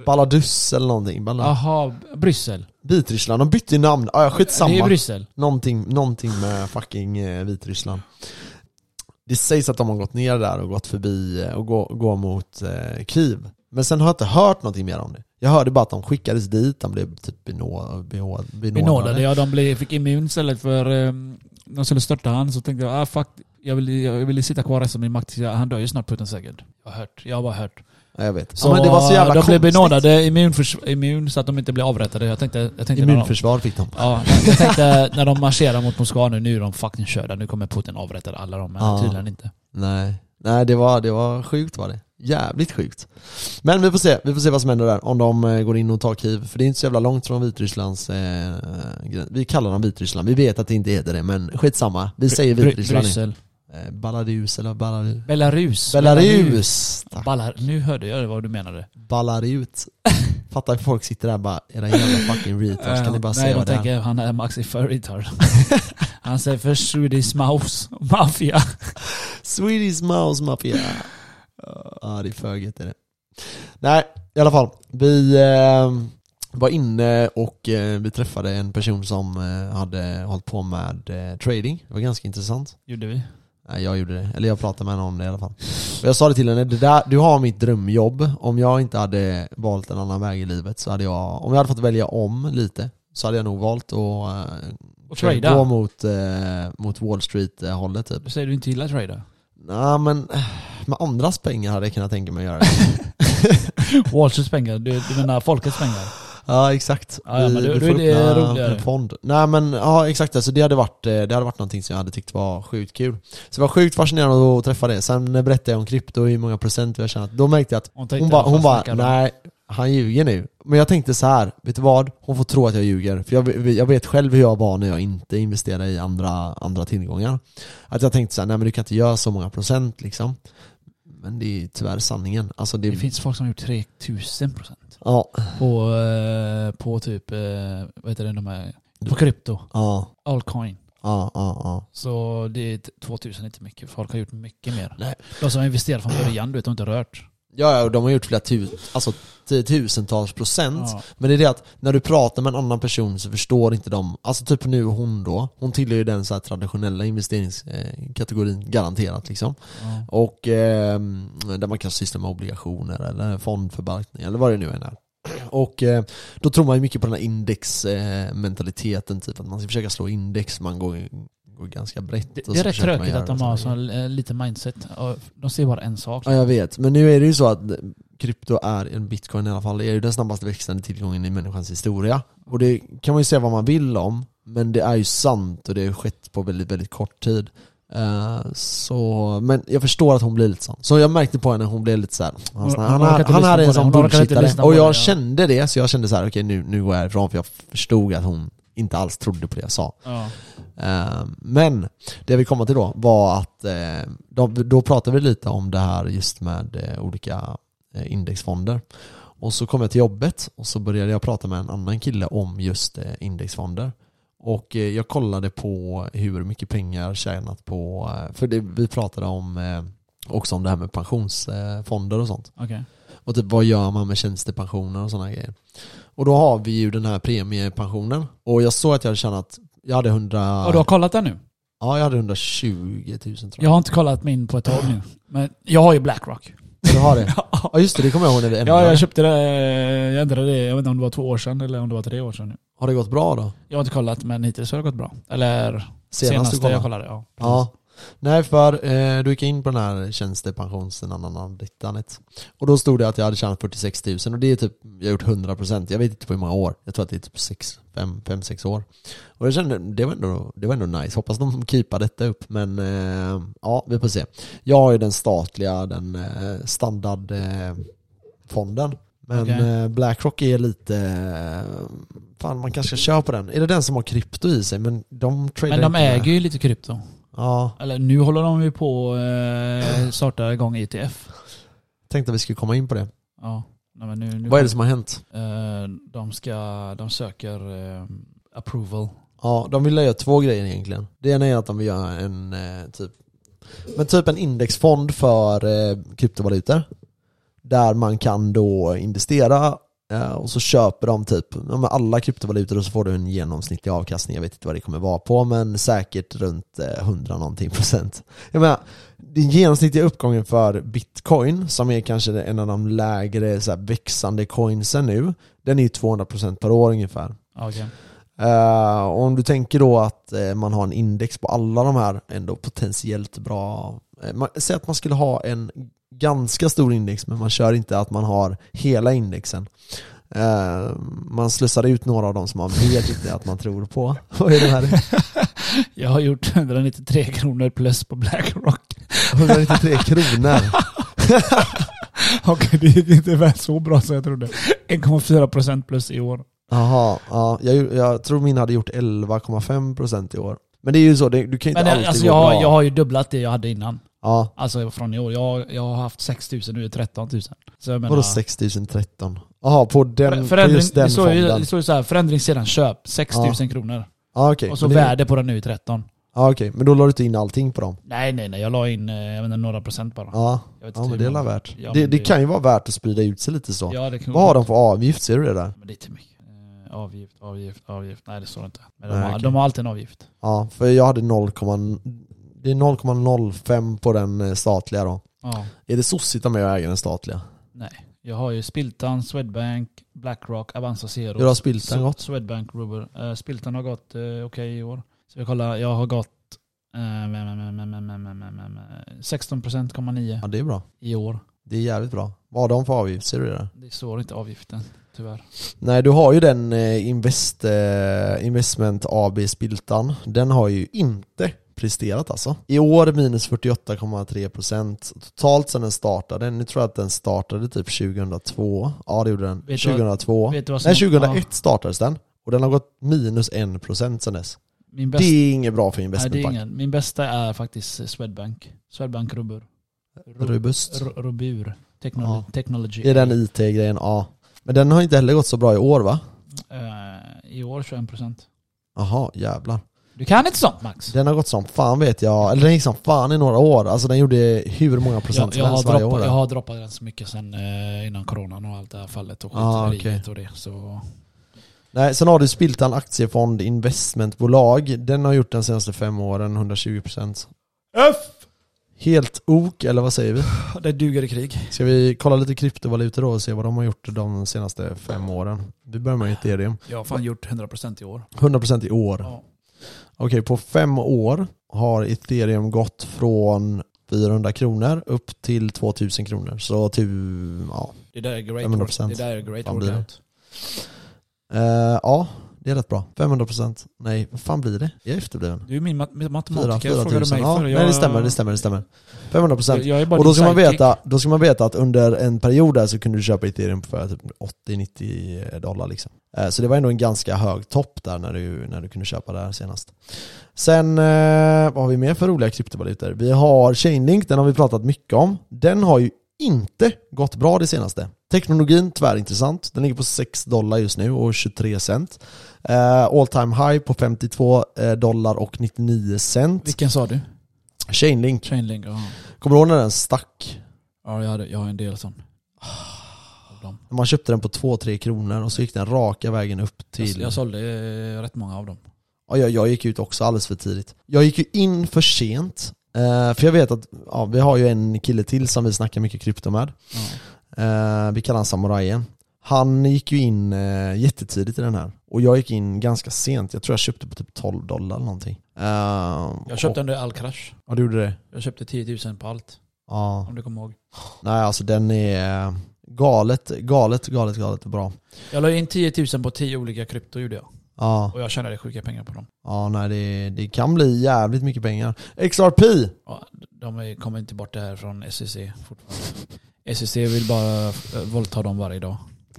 S3: Baladus eller någonting. Bala.
S2: Jaha, Bryssel.
S3: Vitryssland. De bytte ju namn. Ah, ja, skitsamma.
S2: Det är Bryssel.
S3: Någonting, någonting med fucking eh, Vitryssland. Det sägs att de har gått ner där och gått förbi eh, och går, går mot eh, Kiev. Men sen har jag inte hört någonting mer om det. Jag hörde bara att de skickades dit, de blev typ benå, benå,
S2: Benådade.
S3: benådade.
S2: Ja, de blev, fick immun istället för... ehm, de skulle störta han så tänkte jag, ah fuck. Jag ville jag vill sitta kvar resten av min makt. Han dör ju snart Putin säkert. Jag har hört. Jag har bara hört.
S3: Ja, jag vet.
S2: Så
S3: ja, men det var så jävla
S2: de blev
S3: konstigt.
S2: benådade immunförs- immun så att de inte blev avrättade. Jag tänkte... Jag tänkte när de-
S3: Immunförsvar fick de.
S2: Ja, jag tänkte när de marscherar mot Moskva nu, nu är de fucking körda. Nu kommer Putin avrätta alla dem, men
S3: Ja.
S2: tydligen inte.
S3: Nej, Nej det, var, det var sjukt var det. Jävligt sjukt. Men vi får se, vi får se vad som händer där. Om de eh, går in och tar Kiev. För det är inte så jävla långt från Vitrysslands eh, gräns. Vi kallar dem Vitryssland. Vi vet att det inte heter det, men skitsamma. Vi säger
S2: Bry-
S3: Vitryssland. nu.
S2: Bryssel.
S3: Eh, Baladus eller Balarus.
S2: Belarus.
S3: Belarus! Tack.
S2: Ballar, nu hörde jag vad du menade.
S3: Ballarut. Fattar hur folk sitter där och bara, era jävla fucking retards, kan ni bara
S2: Eh,
S3: säga
S2: Nej, de
S3: vad det är?
S2: tänker han är Maxi Furritard. han säger för Swedish Mouse Mafia.
S3: Swedish Mouse Mafia. Ja, det är för gött är det. Nej, i alla fall. Vi eh, var inne och eh, vi träffade en person som eh, hade hållit på med eh, trading. Det var ganska intressant.
S2: Gjorde vi.
S3: Nej, jag gjorde det. Eller jag pratade med henne om det i alla fall. Och jag sa det till henne, det där, du har mitt drömjobb. Om jag inte hade valt en annan väg i livet så hade jag, om jag hade fått välja om lite, så hade jag nog valt att eh,
S2: Och
S3: gå
S2: trada.
S3: mot, eh, mot Wall Street-hållet typ.
S2: Du säger du inte gillar trada.
S3: Nej men eh, med andras pengar hade jag kunnat tänka mig att göra det.
S2: Wall Streets pengar, du, du menar folkets pengar.
S3: ja exakt.
S2: Ja, ja, men då- då
S3: får
S2: är det
S3: öppna
S2: roligare.
S3: en fond. Nej men ja exakt, alltså, det, hade varit, eh, det hade varit någonting som jag hade tyckt var sjukt kul. Så det var sjukt fascinerande att träffa det. Sen eh, berättade jag om krypto och hur många procent vi har tjänat. Då märkte jag att
S2: Hon
S3: hon
S2: tänkte
S3: bara,
S2: vad
S3: hon
S2: fan
S3: bara
S2: snackar du om?
S3: nej han ljuger nu. Men jag tänkte så här, vet du vad? Hon får tro att jag ljuger. För jag, jag vet själv hur jag var när jag inte investerade i andra, andra tillgångar. Att jag tänkte så här, nej men du kan inte göra så många procent liksom. Men det är ju tyvärr sanningen. Alltså det,
S2: Det finns folk som har gjort 3000 procent.
S3: Ja,
S2: På, eh, på typ, eh, vad heter det, de här, på krypto.
S3: ja,
S2: Allcoin.
S3: ja, ja, ja.
S2: Så det är t- 2000 är inte mycket. Folk har gjort mycket mer.
S3: Nej.
S2: De som har investerat från början, du vet, de har inte rört.
S3: Ja, ja, och de har gjort flera tusen, alltså tiotusentals procent.
S2: Ja.
S3: Men det är det att när du pratar med en annan person så förstår inte de, alltså typ nu hon då, hon tillhör ju den så här traditionella investeringskategorin garanterat liksom.
S2: Ja.
S3: Och eh, där man kan syssla med obligationer eller fondförvaltning eller vad det nu än är. Och eh, då tror man ju mycket på den här indexmentaliteten, eh, mentaliteten, typ att man ska försöka slå index, man går, går ganska brett.
S2: Det,
S3: och
S2: det är
S3: så
S2: rätt
S3: försöker man
S2: tråkigt
S3: göra
S2: att de
S3: det.
S2: har så eh, lite mindset. Ja, De ser bara en sak.
S3: Ja jag vet, men nu är det ju så att krypto är, en bitcoin i alla fall, det är ju den snabbast växande tillgången i människans historia. Och det kan man ju säga vad man vill om, men det är ju sant och det har skett på väldigt, väldigt kort tid. Eh, så, men jag förstår att hon blir lite sån. Så jag märkte på henne, hon blev lite såhär, han,
S2: Hon- hon
S3: han,
S2: orkar
S3: är-
S2: inte
S3: han
S2: lyssna
S3: här är
S2: på
S3: en
S2: det,
S3: sån
S2: hon orkar inte lyssna
S3: bullshitare.
S2: på
S3: Och
S2: det,
S3: jag
S2: ja.
S3: kände det, så jag kände så här: okej nu, nu går jag härifrån för jag förstod att hon inte alls trodde på det jag sa.
S2: Ja.
S3: Eh, Men det vi kom till då var att eh, de, då pratade vi lite om det här just med eh, olika eh, indexfonder. Och så kom jag till jobbet och så började jag prata med en annan kille om just eh, indexfonder. Och eh, jag kollade på hur mycket pengar tjänat på, eh, för det, vi pratade om eh, också om det här med pensionsfonder och sånt.
S2: Okej.
S3: Och typ vad gör man med tjänstepensioner och sådana grejer. Och då har vi ju den här premiepensionen. Och jag såg att jag hade tjänat, jag hade 100...
S2: Och du har kollat den nu?
S3: Ja, jag hade 120 000 tror jag.
S2: Jag har inte kollat min på ett tag nu. Men jag har ju Blackrock.
S3: Du har det? Ja just det, det kommer jag ihåg när vi
S2: Ja,
S3: ändrade.
S2: jag köpte det. eh, Jag ändrade det. Jag vet inte om det var två år sedan eller om det var tre år sedan. nu.
S3: Har det gått bra då?
S2: Jag har inte kollat, men hittills har det gått bra. Eller
S3: Senast du
S2: senaste
S3: kollade.
S2: jag kollade. Ja.
S3: Ja. Nej, för eh, du gick in på den här tjänstepensionsanalysdittandet. Och då stod det att jag hade tjänat 46 000 och det är typ, jag har gjort 100%. Jag vet inte på hur många år. Jag tror att det är typ 5-6 år. Och jag kände, det var ändå, det var ändå nice. Hoppas de keepar detta upp. Men eh, ja, vi får se. Jag har ju den statliga, den eh, standardfonden. Eh, fonden. men
S2: Okej.
S3: eh, Blackrock är lite... Eh, fan, man kanske ska köra på den. Är det den som har krypto i sig? Men de tradar
S2: Men de
S3: inte med.
S2: äger ju lite krypto.
S3: Ja.
S2: Eller nu håller de ju på att eh, starta igång ETF.
S3: Tänkte att vi skulle komma in på det.
S2: Ja. Nej, men nu, nu,
S3: Vad är det som har hänt?
S2: Eh, de, ska, de söker eh, approval.
S3: Ja, de vill göra två grejer egentligen. Det ena är att de vill göra en eh, typ men typ en indexfond för eh, kryptovalutor. Där man kan då investera eh, och så köper de typ ja, men alla kryptovalutor och så får du en genomsnittlig avkastning. Jag vet inte vad det kommer vara på men säkert runt eh, 100 någonting procent. Jag menar, den genomsnittliga uppgången för bitcoin som är kanske en av de lägre så här, växande coinsen nu den är ju 200 procent per år ungefär.
S2: Ja, okej.
S3: Eh, och om du tänker då att eh, man har en index på alla de här ändå potentiellt bra. eh, man, säg att man skulle ha en ganska stor index men man kör inte att man har hela indexen. Eh, man slussar ut några av dem som man vet inte att man tror på. Vad är det här?
S2: Jag har gjort 193 kronor plus på BlackRock.
S3: 193 kronor.
S2: Och det gick inte väl så bra som jag trodde. 1,4% plus i år.
S3: Jaha, ja, jag, jag tror min hade gjort 11,5% i år. Men det är ju så, det, du kan ju
S2: Men
S3: inte
S2: eh,
S3: alltid
S2: alltså,
S3: gå
S2: jag, har-
S3: bra.
S2: jag har ju dubblat det jag hade innan.
S3: ja,
S2: Alltså från i år. Jag, jag har haft 6 000, nu är det 13 000. Så jag menar,
S3: vadå 6013? Jaha, på, den, på
S2: förändring,
S3: just den
S2: det står ju,
S3: fonden.
S2: det står ju så här, förändring sedan köp, 6 000
S3: Ja.
S2: kronor.
S3: Ja, okej.
S2: Och så
S3: Men det-
S2: värde på den nu är 13.
S3: Ja okej, men då la du inte in allting på dem?
S2: Nej nej nej, jag la in eh, jag vet inte, några procent bara.
S3: Ja,
S2: Jag vet
S3: ja
S2: inte
S3: men det
S2: hur
S3: är
S2: många.
S3: värt.
S2: Ja,
S3: det,
S2: men
S3: det kan ju vara värt att sprida ut sig lite så.
S2: Ja, det kan
S3: Vad har de för avgift? Ser du det där?
S2: Men det är inte mycket. Eh, Avgift, avgift, avgift. Nej det står inte. Men de,
S3: Nej,
S2: har,
S3: okej.
S2: de har alltid en avgift.
S3: Ja, för jag hade 0, det är 0,05 på den eh, statliga då.
S2: Ja.
S3: Är det sossigt om jag äger den statliga?
S2: Nej. Jag har ju Spiltan, Swedbank, Blackrock, Avanza Zero.
S3: Hur har Spiltan
S2: Sw-
S3: gått?
S2: Swedbank, Ruber. Eh, Spiltan har gått eh, okej i år. Så jag kollar, jag har gått eh, mm, mm, mm, mm, mm, mm, mm, 16,9
S3: Ja det är bra.
S2: i år.
S3: Det är jävligt bra. Vad har de för avgift? Ser du det där?
S2: Det står inte avgiften, tyvärr.
S3: Nej du har ju den eh, invest, eh, Investment AB Spiltan. Den har ju inte presterat alltså. I år minus 48,3% totalt sedan den startade. Nu tror jag att den startade typ 2002. Ja det gjorde den.
S2: Vet du vad-
S3: 2002.
S2: Vet du vad som-
S3: Nej 2001
S2: Ja,
S3: startades den. Och den har gått minus 1% sedan dess.
S2: min
S3: Det
S2: bästa,
S3: är inget bra för
S2: nej, det är
S3: investmentbank.
S2: ingen. Min bästa är faktiskt Swedbank. Swedbank Rubber. Ru-
S3: Robust.
S2: Ru- Rubur. Technol-
S3: Ja.
S2: Technology.
S3: I den IT-grejen, ja. Men den har inte heller gått så bra i år va?
S2: Eh, I år 21%.
S3: Jaha, jävlar.
S2: Du kan inte sånt Max.
S3: Den har gått som fan vet jag, eller den gick som fan i några år. Alltså den gjorde hur många procent
S2: Jag,
S3: som
S2: jag, har
S3: helst varje år.
S2: droppat, jag har droppat den så mycket sen eh, innan coronan och allt det här fallet och
S3: Ah,
S2: skitvärdet och det. Så,
S3: Nej, sen har du Spiltan Aktiefond Investmentbolag. Den har gjort den senaste fem åren 120 procent.
S2: F!
S3: Helt ok, eller vad säger vi?
S2: Det duger i krig.
S3: Ska vi kolla lite kryptovalutor då och se vad de har gjort de senaste fem åren? Vi börjar med Ethereum.
S2: Jag har fan gjort 100% i år.
S3: 100% i år.
S2: Ja.
S3: Okej, på fem år har ethereum gått från 400 kronor upp till 2000 kronor. Så typ, ja.
S2: Det där är great,
S3: 500%.
S2: work, det där är great
S3: Fan, blir det?
S2: workout.
S3: Eh, ja, det är rätt bra. 500%. Nej, vad fan blir det? Jag är efterbliven.
S2: Du är min mat- matematiker,
S3: Fyra, fyra
S2: frågar du
S3: tusen.
S2: mig
S3: Ja,
S2: för?
S3: nej, det stämmer, det stämmer, det stämmer. 500
S2: Jag,
S3: procent.
S2: jag är bara
S3: Och då
S2: din
S3: ska, man
S2: sidekick.
S3: veta, då ska man veta att under en period där så kunde du köpa ethereum för typ 80-90 dollar liksom. Eh, Så det var ändå en ganska hög topp där när du, när du kunde köpa det här senast. Sen, eh, vad har vi mer för roliga kryptovalutor? Vi har Chainlink, den har vi pratat mycket om. Den har ju inte gått bra det senaste. Teknologin, tvärintressant. Den ligger på 6 dollar just nu och 23 cent. Eh, All time high på 52 eh, dollar och 99 cent.
S2: Vilken sa du?
S3: Chainlink.
S2: Chainlink? Ja,
S3: Kommer du ihåg när den stack?
S2: ja jag, hade, jag har en del sån. Av dem.
S3: Man köpte den på 2-3 kronor och så gick den raka vägen upp
S2: Jag,
S3: till...
S2: jag sålde eh, rätt många av dem.
S3: Ja, jag, jag gick ut också alldeles för tidigt. Jag gick ju in för sent Eh, för jag vet att ja, vi har ju en kille till som vi snackar mycket krypto med. Eh, vi kallar han Samurajen. Han gick ju in eh, jättetidigt i den här. Och jag gick in ganska sent. Jag tror jag köpte på typ 12 dollar eller någonting. Eh,
S2: Jag köpte
S3: och,
S2: under all krasch.
S3: Ja du gjorde det?
S2: Jag köpte 10 000 på allt.
S3: Ja.
S2: Om du kommer ihåg.
S3: Nej alltså den är eh, galet, galet, galet, galet bra.
S2: Jag la in 10 000 på 10 olika krypto gjorde jag.
S3: Ja,
S2: Och jag tjänade sjuka pengar på dem.
S3: ja nej det, det kan bli jävligt mycket pengar. XRP!
S2: Ja, de är- kommer inte bort det här från SEC fortfarande. SEC vill bara eh, våldta dem varje dag.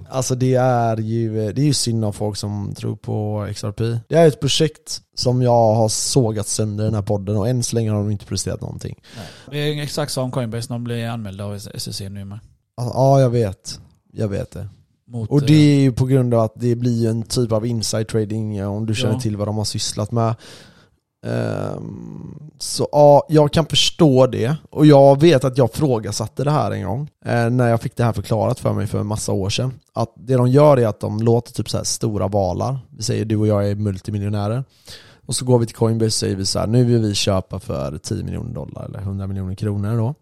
S3: Alltså det är ju, det är ju synd om folk som tror på XRP. Det är ett projekt som jag har sågat sönder i den här podden och än så länge har de inte presterat någonting.
S2: Det är exakt som Coinbase, de blir anmälda av SEC nu med.
S3: Alltså, ja, jag vet. Jag vet det.
S2: Mot,
S3: Och
S2: eh,
S3: det är ju på grund av att det blir ju en typ av inside trading eh, om du känner
S2: Ja.
S3: till vad de har sysslat med. Ehm, så ja, jag kan förstå det. Och jag vet att jag frågasatte det här en gång eh, när jag fick det här förklarat för mig för en massa år sedan. Att det de gör är att de låter typ så här stora valar, vi säger du och jag är multimiljonärer. Och så går vi till Coinbase och säger vi så här, nu vill vi köpa för 10 miljoner dollar eller 100 miljoner kronor då.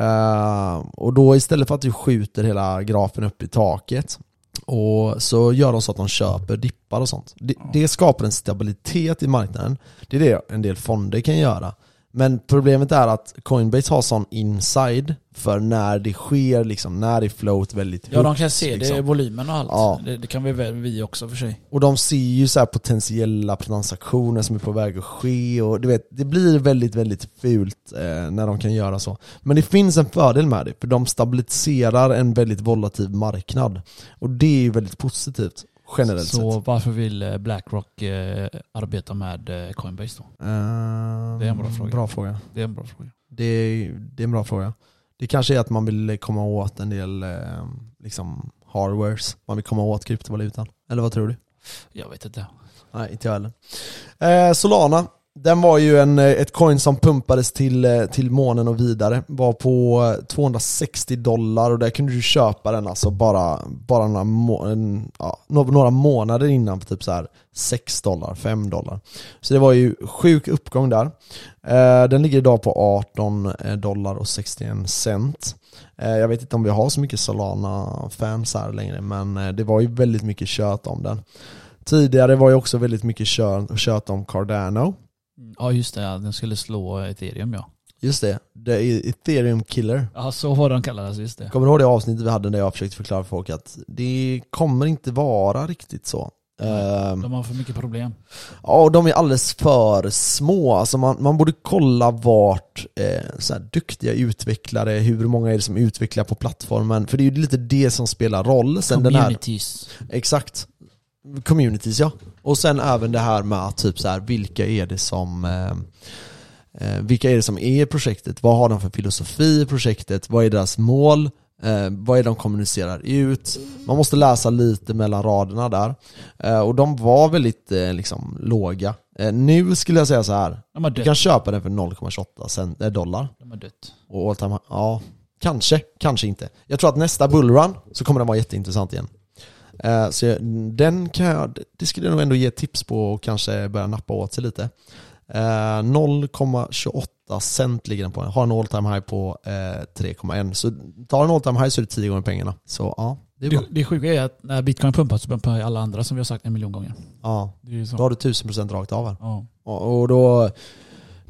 S3: Eh, och då istället för att du skjuter hela grafen upp i taket och så gör de så att de köper dippar och sånt. Det, det skapar en stabilitet i marknaden. Det är det en del fonder kan göra. Men problemet är att Coinbase har sån inside för när det sker, liksom, när det är float väldigt
S2: Ja, de
S3: högt,
S2: kan se det,
S3: liksom.
S2: i volymen och allt.
S3: Ja.
S2: Det, det kan vi väl vi också för sig.
S3: Och de ser ju så här potentiella transaktioner som är på väg att ske och du vet, det blir väldigt, väldigt fult eh, när de kan göra så. Men det finns en fördel med det, för de stabiliserar en väldigt volatil marknad. Och det är ju väldigt positivt, generellt
S2: så
S3: sett.
S2: varför vill eh, Blackrock eh, arbeta med eh, Coinbase då?
S3: Ehm,
S2: Det är en bra fråga.
S3: Bra fråga.
S2: Det är en bra fråga.
S3: Det är, det är en bra fråga. Det kanske är att man vill komma åt en del eh, liksom hardwares. Man vill komma åt kryptovalutan. Eller vad tror du?
S2: Jag vet inte.
S3: Nej, inte jag heller. Eh, Solana, den var ju en, eh, ett coin som pumpades till, eh, till månen och vidare. Var på eh, 260 dollar och där kunde du köpa den alltså bara, bara några, må- en, ja, no- några månader innan på typ så här 6 dollar, 5 dollar. Så det var ju sjuk uppgång där. Eh, den ligger idag på 18 dollar och 61 cent. Eh, jag vet inte om vi har så mycket Solana-fans här längre men eh, det var ju väldigt mycket kött om den. Tidigare var ju också väldigt mycket kö- kött om Cardano.
S2: Ja just det, ja, den skulle slå ethereum ja.
S3: Just det, det är ethereum killer.
S2: Ja så var den kallades, just det.
S3: Kommer du ihåg det avsnittet vi hade när jag försökte förklara för folk att det kommer inte vara riktigt så. Ehm,
S2: De har för mycket problem.
S3: Ja, och de är alldeles för små. Alltså man, man borde kolla vart eh, så här, duktiga utvecklare, hur många är det som utvecklar på plattformen? För det är ju lite det som spelar roll. Sen den här,
S2: Communities.
S3: exakt. Communities ja. Och sen även det här med att typ så här, vilka är det som eh, eh, vilka är det som är i projektet? Vad har de för filosofi i projektet? Vad är deras mål? Eh, vad är de kommunicerar ut? Man måste läsa lite mellan raderna där. Eh, och de var väldigt eh, liksom, låga. Eh, nu skulle jag säga så här.
S2: De har
S3: Du
S2: dött.
S3: kan köpa den för 0,28 cent, eh, dollar.
S2: De har dött.
S3: Och all time, ja, kanske, kanske inte. Jag tror att nästa bullrun så kommer den vara jätteintressant igen. Eh, så jag, den kan jag, det skulle jag nog ändå ge tips på och kanske börja nappa åt sig lite. Eh, 0,28 cent ligger den på. Har en all time high på eh, 3,1. Så tar en all time high så är det 10 gånger pengarna. Så ja, det är bra.
S2: Det, det sjuka är att när bitcoin pumpas så pumpar alla andra som vi har sagt en miljon gånger.
S3: Ja,
S2: Det är ju
S3: då
S2: så.
S3: har du 1000% rakt av här.
S2: Ja.
S3: Och, och då,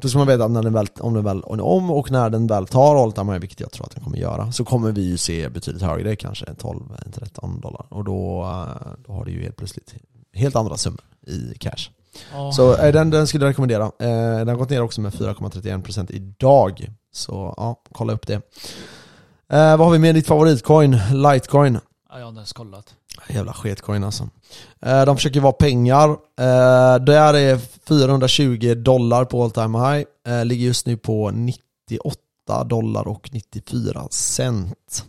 S3: då ska man veta att när den väl, om, den väl, om och när den väl tar all time high, vilket jag tror att den kommer göra, så kommer vi ju se betydligt högre, kanske 12-13 dollar. Och då, eh, då har du ju helt plötsligt helt andra summor i cash.
S2: Ja.
S3: Så eh, den, den skulle jag rekommendera. Eh, Den har gått ner också med 4,31% idag. Så ja, kolla upp det. Eh, vad har vi med ditt favoritcoin? Litecoin.
S2: Ja, jag har inte ens kollat.
S3: Jävla sketcoin alltså. Eh, De försöker vara pengar. Eh, Där är 420 dollar på all time high. Eh, Ligger just nu på 98 dollar och 94 cent.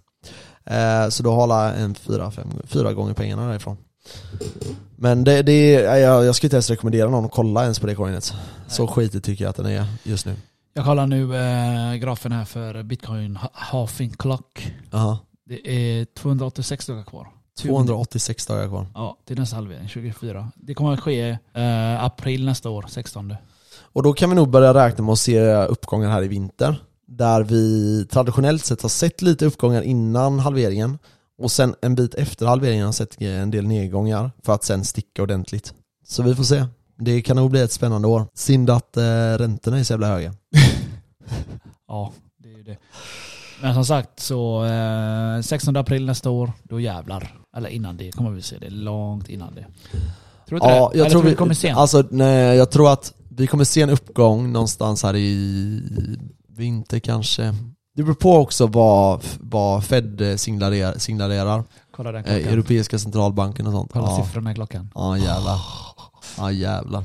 S3: Eh, Så då har alla en fyra, fem, fyra gånger pengarna därifrån. Men det, det är, eh, jag, jag skulle inte ens rekommendera någon att kolla ens på det coinet. Så skitigt tycker jag att den är just nu.
S2: Jag kollar nu eh, grafen här för bitcoin ha- halving clock.
S3: Aha.
S2: Det är 286 dagar kvar.
S3: 286 dagar kvar.
S2: Ja, till nästa halvering, 24. Det kommer att ske eh, april nästa år, 16.
S3: Och då kan vi nog börja räkna med att se uppgångar här i vinter. Där vi traditionellt sett har sett lite uppgångar innan halveringen och sen en bit efter halveringen har sett en del nedgångar för att sen sticka ordentligt. Så vi får se. Det kan nog bli ett spännande år. Synd att eh, räntorna är så jävla höga.
S2: Ja, det är ju det. Men som sagt så eh, 16 april nästa år, då jävlar. Eller innan det kommer vi se det. Långt innan det. Tror du inte
S3: Ja,
S2: det?
S3: jag
S2: Eller
S3: tror, vi,
S2: du det kommer sent?
S3: Alltså, nej, jag tror att vi kommer se en uppgång någonstans här i vinter kanske. Det beror på också vad, vad Fed eh, signalerar, signalerar.
S2: Kolla den
S3: Eh,
S2: klockan.
S3: Europeiska centralbanken och sånt.
S2: Kolla
S3: Ja.
S2: siffrorna i klockan.
S3: Ja jävlar. Ja jävlar.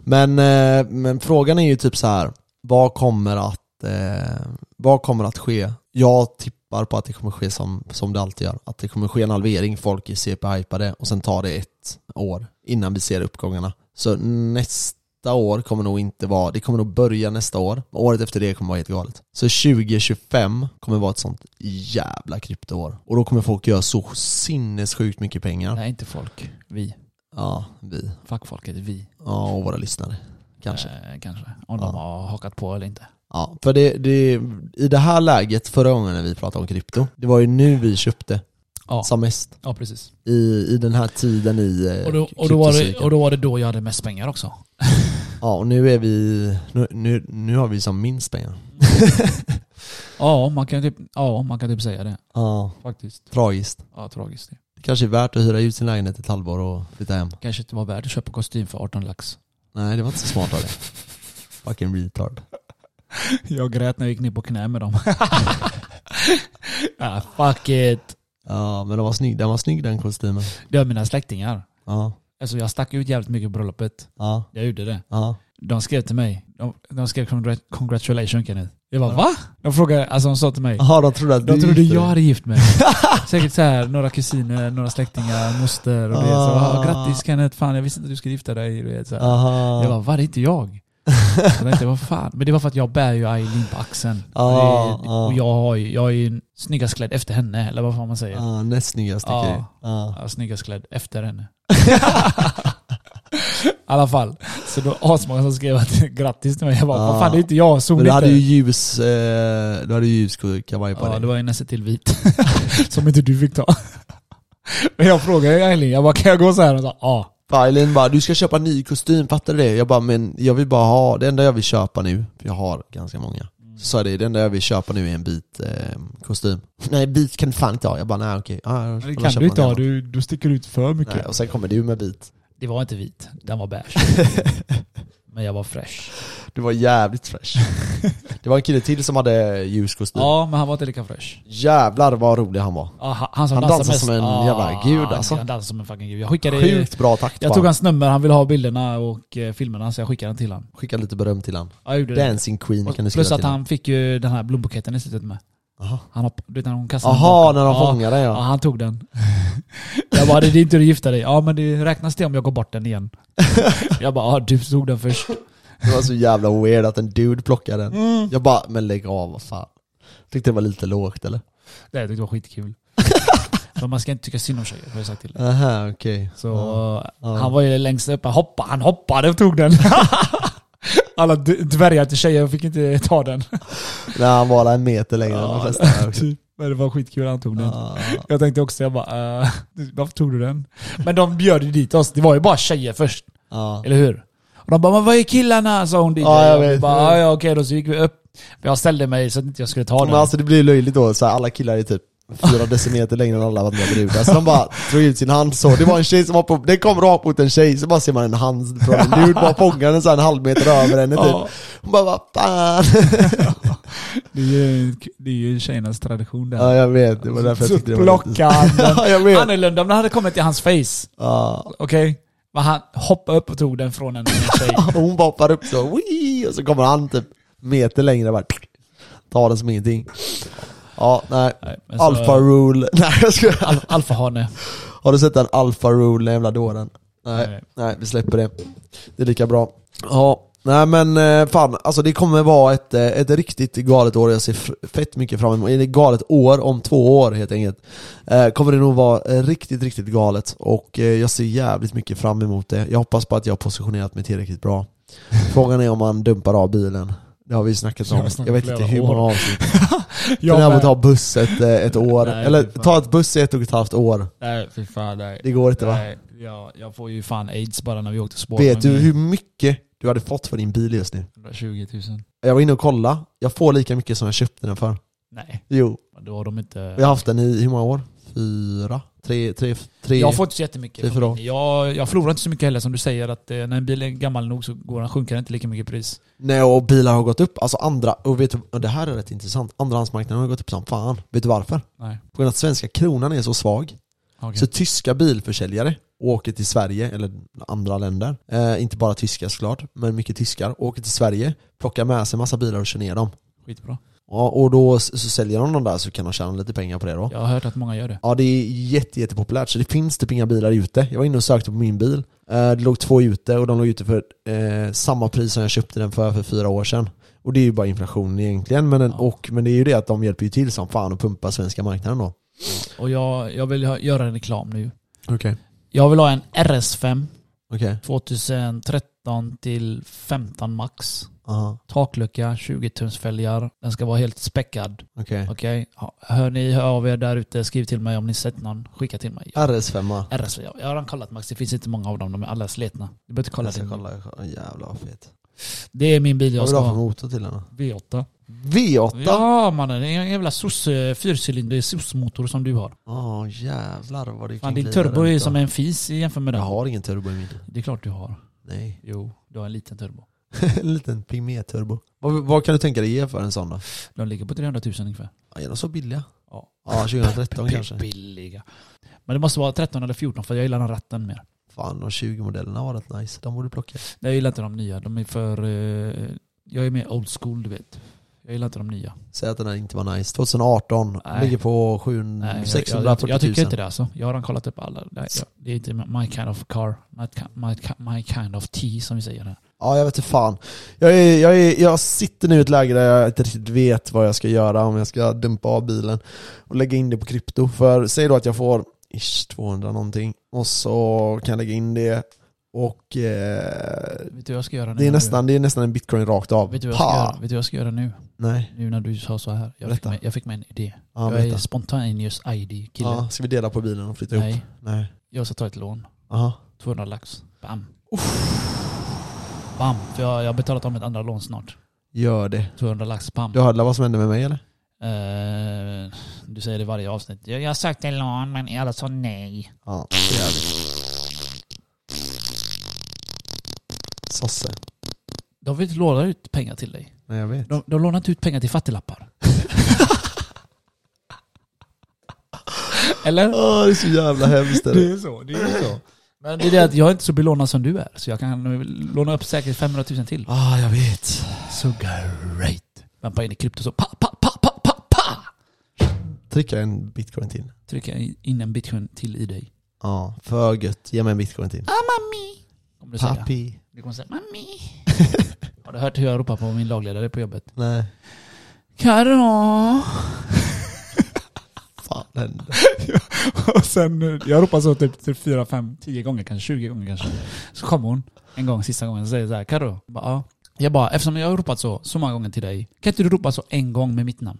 S3: Men, eh, men frågan är ju typ så här. vad kommer att, eh, vad kommer att ske? Jag tippar på att det kommer ske som, som det alltid gör. Att det kommer ske en halvering, folk är CP-hypade och sen tar det ett år innan vi ser uppgångarna. Så nästa år kommer nog inte vara, det kommer nog börja nästa år. Året efter det kommer vara helt galet. Så 2025 kommer vara ett sånt jävla kryptoår. Och då kommer folk göra så sinnessjukt mycket pengar.
S2: Nej, inte folk. Vi.
S3: Ja, vi.
S2: Fackfolket, vi.
S3: Ja, och våra lyssnare. Kanske.
S2: Eh, kanske. Om
S3: Ja.
S2: de har hakat på eller inte.
S3: Ja, för det, det, i det här läget, förra gången när vi pratade om krypto, det var ju nu vi köpte
S2: Ja,
S3: som mest.
S2: ja precis.
S3: I, I den här tiden i eh,
S2: Och då, och, då var det,
S3: kryptocykeln.
S2: och då var det då jag hade mest pengar också.
S3: Ja, och nu är vi, nu, nu, nu har vi som minst pengar.
S2: Ja, man kan typ, ja, man kan typ säga det.
S3: Ja,
S2: Faktiskt.
S3: tragiskt.
S2: Ja, tragiskt. Det
S3: Det kanske är värt att hyra ut sin lägenhet ett halvår och flytta hem.
S2: kanske inte var värt att köpa kostym för 18 lax.
S3: Nej, det var inte så smart av dig. Fucking retard.
S2: Jag grät när jag gick ner på knä med dem. ah, fuck it.
S3: Ja, men den var snygg, den var snygg den kostymen.
S2: Det var mina släktingar.
S3: Ja,
S2: Alltså jag stack ut jävligt mycket på bröllopet.
S3: ja,
S2: Jag gjorde det.
S3: ja.
S2: De skrev till mig. De, de skrev congrat- congratulations Kenneth. Jag bara va? De frågade, alltså de sa till mig.
S3: Jaha, de trodde att
S2: De
S3: du
S2: trodde
S3: gifte
S2: jag
S3: dig.
S2: hade gift mig. Säkert så här, några kusiner, några släktingar, moster och det. Så, ah, grattis Kenneth, fan jag visste inte att du skulle gifta dig. Du vet, så här.
S3: Aha.
S2: Jag bara, va det är inte jag? Jag tänkte, vad fan? Men det var för att jag bär ju Eileen på axeln.
S3: Ja,
S2: Det är-
S3: ja.
S2: och jag, har ju, jag är ju snyggast klädd efter henne, eller vad fan man säger.
S3: Ja, näst snyggaste
S2: Ja.
S3: grej. Ja.
S2: Ja, snyggast klädd efter henne. I alla fall. Så då var asmånga som skrev att grattis till mig. Jag bara,
S3: Ja.
S2: vad fan det är inte jag, såg
S3: Men du
S2: inte.
S3: hade ju ljus, eh, du hade ju ljus kavaj på
S2: ja,
S3: dig.
S2: det var ju nästan till vit. som inte du fick ta. Men jag frågade ju Eileen, jag bara kan jag gå så här? Hon sa ja.
S3: Eileen bara, du ska köpa en ny kostym, fattar du det? Jag bara, men jag vill bara ha, det enda jag vill köpa nu, för jag har ganska många.
S2: Mm.
S3: Så sa jag det, det enda jag vill köpa nu är en bit eh, kostym. Nej, bit kan du fan inte ha. Jag bara, nej okej. Ja, jag får
S2: Det
S3: väl
S2: kan
S3: köpa
S2: du inte
S3: någon
S2: ha,
S3: annan.
S2: du, du sticker ut för mycket.
S3: Nej, och sen kommer du med bit.
S2: Det var inte vit, den var beige. Men jag var fresh.
S3: Du var jävligt fresh. det var en kille till som hade ljus kostym.
S2: Ja, men han var inte lika fresh.
S3: Jävlar vad rolig han var.
S2: Ja, han, han som
S3: Han
S2: dansar
S3: dansar
S2: mest.
S3: som en
S2: Ja,
S3: jävla gud,
S2: han-
S3: alltså.
S2: Han dansar som en fucking gud. Jag skickade...
S3: Sjukt bra takt
S2: Jag
S3: på
S2: tog
S3: han.
S2: hans nummer, han ville ha bilderna och eh, filmerna så jag skickade den till honom.
S3: Skicka lite beröm till han.
S2: Ja, jag gjorde det.
S3: Dancing Queen kan du
S2: Och
S3: skriva
S2: Plus
S3: till
S2: att
S3: han.
S2: han fick ju den här blombuketten i slutet med.
S3: Aha.
S2: Han hopp, du vet när hon kastade den
S3: Jaha,
S2: bakom.
S3: när de
S2: ja,
S3: fångar den
S2: Ja,
S3: ja.
S2: han tog den. Jag bara, det är inte du gifta dig. Ja, men det räknas det om jag går bort den igen? Jag bara, ja, du tog den först.
S3: Det var så jävla weird att en dude plockade den. Jag bara, men lägg av, vad fan. Tyckte det var lite lågt eller?
S2: Det jag tyckte det var skitkul. Men man ska inte tycka synd om tjejer, har jag sagt till dig.
S3: Aha, okej.
S2: Så
S3: Ja.
S2: han var ju längst upp, han hoppa, han hoppade och tog den. Alla d- dvärgar till tjejer fick inte ta den.
S3: När han var en meter längre än de flesta. här också.
S2: Typ. Men det var skitkul han tog den.
S3: Ja.
S2: Jag tänkte också, jag bara, eh, varför tog du den? Men de bjöd ju dit oss, det var ju bara tjejer först,
S3: Ja.
S2: eller hur? Och de bara, men vad är killarna? sa hon dit.
S3: Ja, Ah, jag vet.
S2: bara, "Ah, "Ja, ja, okej då, så gick vi upp. Men Jag ställde mig så att inte jag skulle ta
S3: Men
S2: den.
S3: alltså det blir ju löjligt då, så här, alla killar är typ fyra decimeter längre än alla andra brudar. Så de bara drog ut sin hand så. Det var en tjej som var på, den kom rakt mot en tjej, så bara ser man en hand från en dude, bara fångar den så här en halv meter över henne
S2: Ja.
S3: typ. Hon bara, vad fan.
S2: det, är ju, det är ju tjejernas tradition där.
S3: Ja jag vet, det var därför Ah, jag
S2: så
S3: tyckte det var lite...
S2: plockade han den.
S3: Ja jag vet.
S2: Annorlunda om den hade kommit i hans face.
S3: Ja.
S2: Okej? Men han hoppade upp och tog den från en tjej.
S3: Och hon bara hoppar upp så, Wii! och så kommer han typ meter längre och bara tar den som ingenting. Ja, nej.
S2: Nej, men så-
S3: Alpha rule. Nej jag skojar.
S2: Al- Alfahane.
S3: Har du sett den alpha rule, den jävla dåren? Nej, nej.
S2: Nej.
S3: vi släpper det. Det är lika bra. Ja, nej men eh, fan, alltså det kommer vara ett, eh, ett riktigt galet år. Jag ser f- fett mycket fram emot, eller galet år om två år helt enkelt. Eh, Kommer det nog vara eh, riktigt, riktigt galet och eh, jag ser jävligt mycket fram emot det. Jag hoppas på att jag har positionerat mig tillräckligt bra. Frågan är om han dumpar av bilen. Det har vi ju snackat om.
S2: Jag har
S3: Jag,
S2: snackat
S3: vet inte
S2: flera
S3: hur
S2: år.
S3: många avsnitt.
S2: Jag
S3: Den här
S2: med.
S3: får ta buss ett, eh, ett år.
S2: Nej,
S3: Eller
S2: fy fan.
S3: ta ett buss i ett och ett halvt år.
S2: Nej fy fan nej.
S3: Det går inte va?
S2: nej. Jag, jag får ju fan aids bara när vi åkte spår.
S3: Vet
S2: med
S3: du
S2: min
S3: hur mycket du hade fått för din bil just nu?
S2: 120 000.
S3: Jag var inne och kollade. Jag får lika mycket som jag köpte den för.
S2: Nej,
S3: Jo,
S2: då har de inte...
S3: jag har haft den i hur många år? Fyra? Tre? Tre? tre.
S2: Jag får inte
S3: Det
S2: så
S3: är
S2: jättemycket.
S3: för dem.
S2: Jag, jag förlorar inte så mycket heller som du säger att eh, när en bil är gammal nog så går den, sjunker den inte lika mycket i pris.
S3: Nej, och bilar har gått upp. Alltså andra, och vet du, och det här är rätt intressant. Andrahandsmarknaden har gått upp som fan. Vet du varför?
S2: Nej.
S3: På grund av att svenska kronan är så svag.
S2: Okej.
S3: Så tyska bilförsäljare åker till Sverige, eller andra länder, eh, inte bara tyskar såklart, men mycket tyskar, åker till Sverige, plockar med sig massa bilar och kör ner dem.
S2: Skitbra.
S3: Ja, och då s- så säljer de dem där så kan de tjäna lite pengar på det då. Ja,
S2: Jag har hört att många gör det.
S3: det är jätte, jättepopulärt så det finns typ inga bilar ute. Jag var inne och sökte på min bil, eh, det låg två ute och de låg ute för eh, samma pris som jag köpte den för för fyra år sedan. Och det är ju bara inflationen egentligen, men, den,
S2: Ja.
S3: och, men det är ju det att de hjälper ju till som fan att pumpa svenska marknaden då.
S2: Och jag, jag vill ha- göra en reklam nu.
S3: Okej.
S2: Jag vill ha en RS5
S3: Okej.
S2: 2013 till 15 max.
S3: Aha.
S2: Taklucka, 20 tums fälgar. Den ska vara helt späckad.
S3: Okej.
S2: Okej? Ja, Hör ni hör av er där ute, skriv till mig om ni sett någon. Skicka till mig.
S3: RS5.
S2: RS, jag jag har redan kollat Max, det finns inte många av dem. De är alla sletna. Du behöver inte kolla.
S3: Jag ska
S2: din-
S3: Alltså, kolla, jag ska- åh, jävlar vad fet.
S2: Det är min bil
S3: Vad
S2: jag
S3: vill
S2: ska
S3: du ha för
S2: ha.
S3: motor till den då?
S2: V8.
S3: V8? Ja
S2: Ja mannen, det är en jävla sosse, fyrcylindrig sossmotor som du har.
S3: jävlar vad det
S2: Fan,
S3: kan
S2: din
S3: glida
S2: turbo är
S3: runt
S2: ju
S3: då.
S2: som en fis jämfört med
S3: Jag
S2: den.
S3: har ingen turbo i min.
S2: Det är klart du har.
S3: Nej.
S2: Jo, du har en liten turbo.
S3: en liten pygmé-turbo. Vad, vad kan du tänka dig ge för en sån då?
S2: De ligger på 300 000 ungefär.
S3: Ja, är de så billiga?
S2: Ja.
S3: Ja, 2013 kanske.
S2: Billiga. Men det måste vara 13 eller 14 för jag gillar den ratten mer.
S3: Fan, de 20-modellerna var rätt nice. De borde plocka.
S2: Jag gillar inte de nya. De är för... eh, jag är mer old school, du vet. Jag gillar inte de nya.
S3: Säg att den här inte var nice. 2018,
S2: Nej.
S3: ligger på
S2: Nej, jag-
S3: 700,
S2: jag, jag,
S3: 640 000.
S2: jag tycker inte det alltså. Jag har redan kollat upp alla. Nej, jag, det är inte my kind of car. My, ki- my, ki- my kind of tea som vi säger här.
S3: Ja, jag vet inte fan. Jag, är, jag, är, jag sitter nu i ett läge där jag inte riktigt vet vad jag ska göra, om jag ska dumpa av bilen och lägga in det på krypto. För säg då att jag får ish, 200 någonting och så kan jag lägga in det och eh,
S2: Vet du vad jag ska göra nu?
S3: det, är
S2: när
S3: nästan, det är nästan en bitcoin rakt av.
S2: Du, vet, du vad jag ska göra,
S3: Pa!
S2: vet du vad jag ska göra nu?
S3: Nej,
S2: Nu när du sa så här. Jag, fick
S3: Berätta.
S2: mig, jag fick mig en idé.
S3: ja,
S2: jag är
S3: vänta.
S2: spontaneous ID-kille.
S3: Ja, ska vi dela på bilen och flytta ihop?
S2: Nej,
S3: Nej.
S2: jag ska ta ett lån.
S3: Aha.
S2: 200 lax. Bam. Bam. För jag, jag har betalat av mitt andra lån snart.
S3: Gör det.
S2: 200 lax. Bam.
S3: Du hörde vad som hände med mig eller?
S2: Eh, du säger det i varje avsnitt. Jag, jag sökte lån men alla sa nej.
S3: Ja, jävligt. Sosse.
S2: De vill inte låna ut pengar till dig.
S3: Nej, jag vet.
S2: De, de lånar inte ut pengar till fattiglappar. Eller?
S3: Åh, det är så jävla hemskt. är det?
S2: är så. Det är så. Men det är det att jag är inte så belånad som du är. Så jag kan låna upp säkert 500 000 till.
S3: Ah, jag vet.
S2: So great. Vampa in i krypto så pa, pa, pa, pa, pa, pa.
S3: Trycka en bitcoin till.
S2: Trycka in en bitcoin till i dig.
S3: Ja, Ah. för gött. Ge mig en bitcoin till.
S2: Kommer du säga.
S3: Papi.
S2: Du kommer säga mami. Har du hört hur jag ropar på min lagledare på jobbet?
S3: Nej,
S2: Karo.
S3: fan hände.
S2: Och sen, eh, jag ropar så typ, typ 4, 5, 10 gånger kanske, 20 gånger kanske. Så kommer hon en gång, sista gången, och säger så här, Karo. Jag bara, ja. Jag bara, eftersom jag har ropat så, så många gånger till dig, kan inte du ropa så en gång med mitt namn?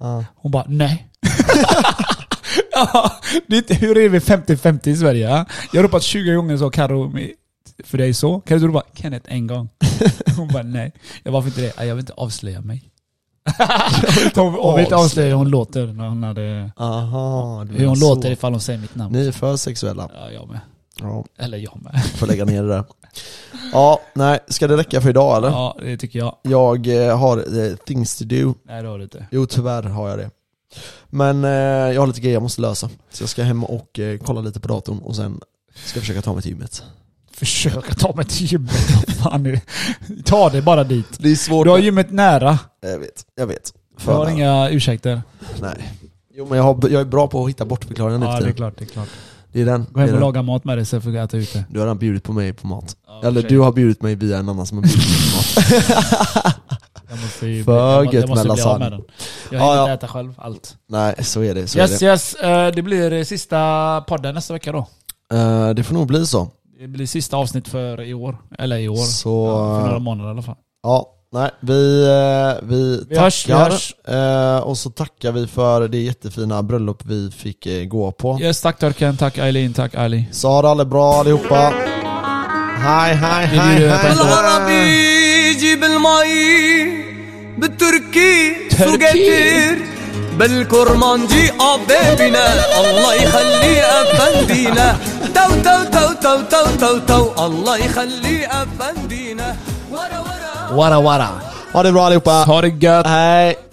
S3: Ja.
S2: Hon bara, nej. ja, det är inte, hur är vi 50-50 i Sverige? ja? Jag har ropat 20 gånger så, Karo, med- för dig så. Kan du inte ropa Kenneth en gång? Hon bara, nej. Jag bara, varför inte det? "Ja, Jag vill inte avslöja mig. Hon hon vill inte avslöja hur hon låter när hon hade...
S3: Aha, du
S2: Hur hon
S3: menar så.
S2: låter ifall hon säger mitt namn.
S3: Ni är för sexuella.
S2: Ja, jag med.
S3: Ja,
S2: Eller jag med.
S3: får lägga ner det där. Ja, nej. Ska det räcka för idag eller?
S2: Ja, det tycker jag.
S3: Jag eh, har eh, things to do.
S2: Nej, det har du inte.
S3: Jo, tyvärr har jag det. Men eh, jag har lite grejer jag måste lösa. Så jag ska hem och eh, kolla lite på datorn och sen ska jag försöka ta mig till gymmet.
S2: Försök att ta mig till gymmet. Vad Fan, är det? ta det bara dit.
S3: Det är svårt.
S2: Du har gymmet nära.
S3: Jag vet, jag vet.
S2: Du har
S3: Fan,
S2: inga ursäkter.
S3: Nej. Jo men jag, har, jag är bra på att hitta bortförklaringar nu
S2: Ja,
S3: för
S2: det är
S3: tiden.
S2: klart. Det är klart.
S3: Det är den.
S2: Gå
S3: det är
S2: hem
S3: den.
S2: och laga mat med dig istället för att äta ute.
S3: Du har redan bjudit på mig på mat.
S2: Ja,
S3: Eller du har bjudit mig via en annan som har bjudit på mat.
S2: Jag måste ju
S3: För
S2: jag må-
S3: gött
S2: jag måste
S3: med
S2: bli av
S3: lasagne.
S2: den. Jag
S3: Ja,
S2: hinner
S3: ja.
S2: inte äta själv allt.
S3: Nej, så är det. Så
S2: yes,
S3: är det.
S2: yes. eh, Det blir eh, sista podden nästa vecka då.
S3: Eh, det får nog bli så.
S2: Det blir sista avsnitt för i år. Eller i år.
S3: Så- eh,
S2: Ja, för några månader i alla fall.
S3: Ja, nej, vi, eh, vi,
S2: Vi
S3: tackar.
S2: hörs, vi hörs.
S3: Eh, och så tackar vi för det jättefina bröllop vi fick eh, gå på.
S2: Yes, tack Turken, tack Eileen, tack Ali.
S3: Så ha det alla bra allihopa. Hej, hej,
S2: Vi
S3: hej,
S2: bjuder på en
S3: hej.
S2: låt.
S1: بالعربي جيب المي بالتركي سوق كتير بالكرمانجي حبيبنا الله يخلي افندينا تو تو تو تو تو تو تو الله يخلي افندينا ورا ورا
S3: Wara, wara. Ha det bra allihopa.
S2: Ha det gött!
S3: Hej.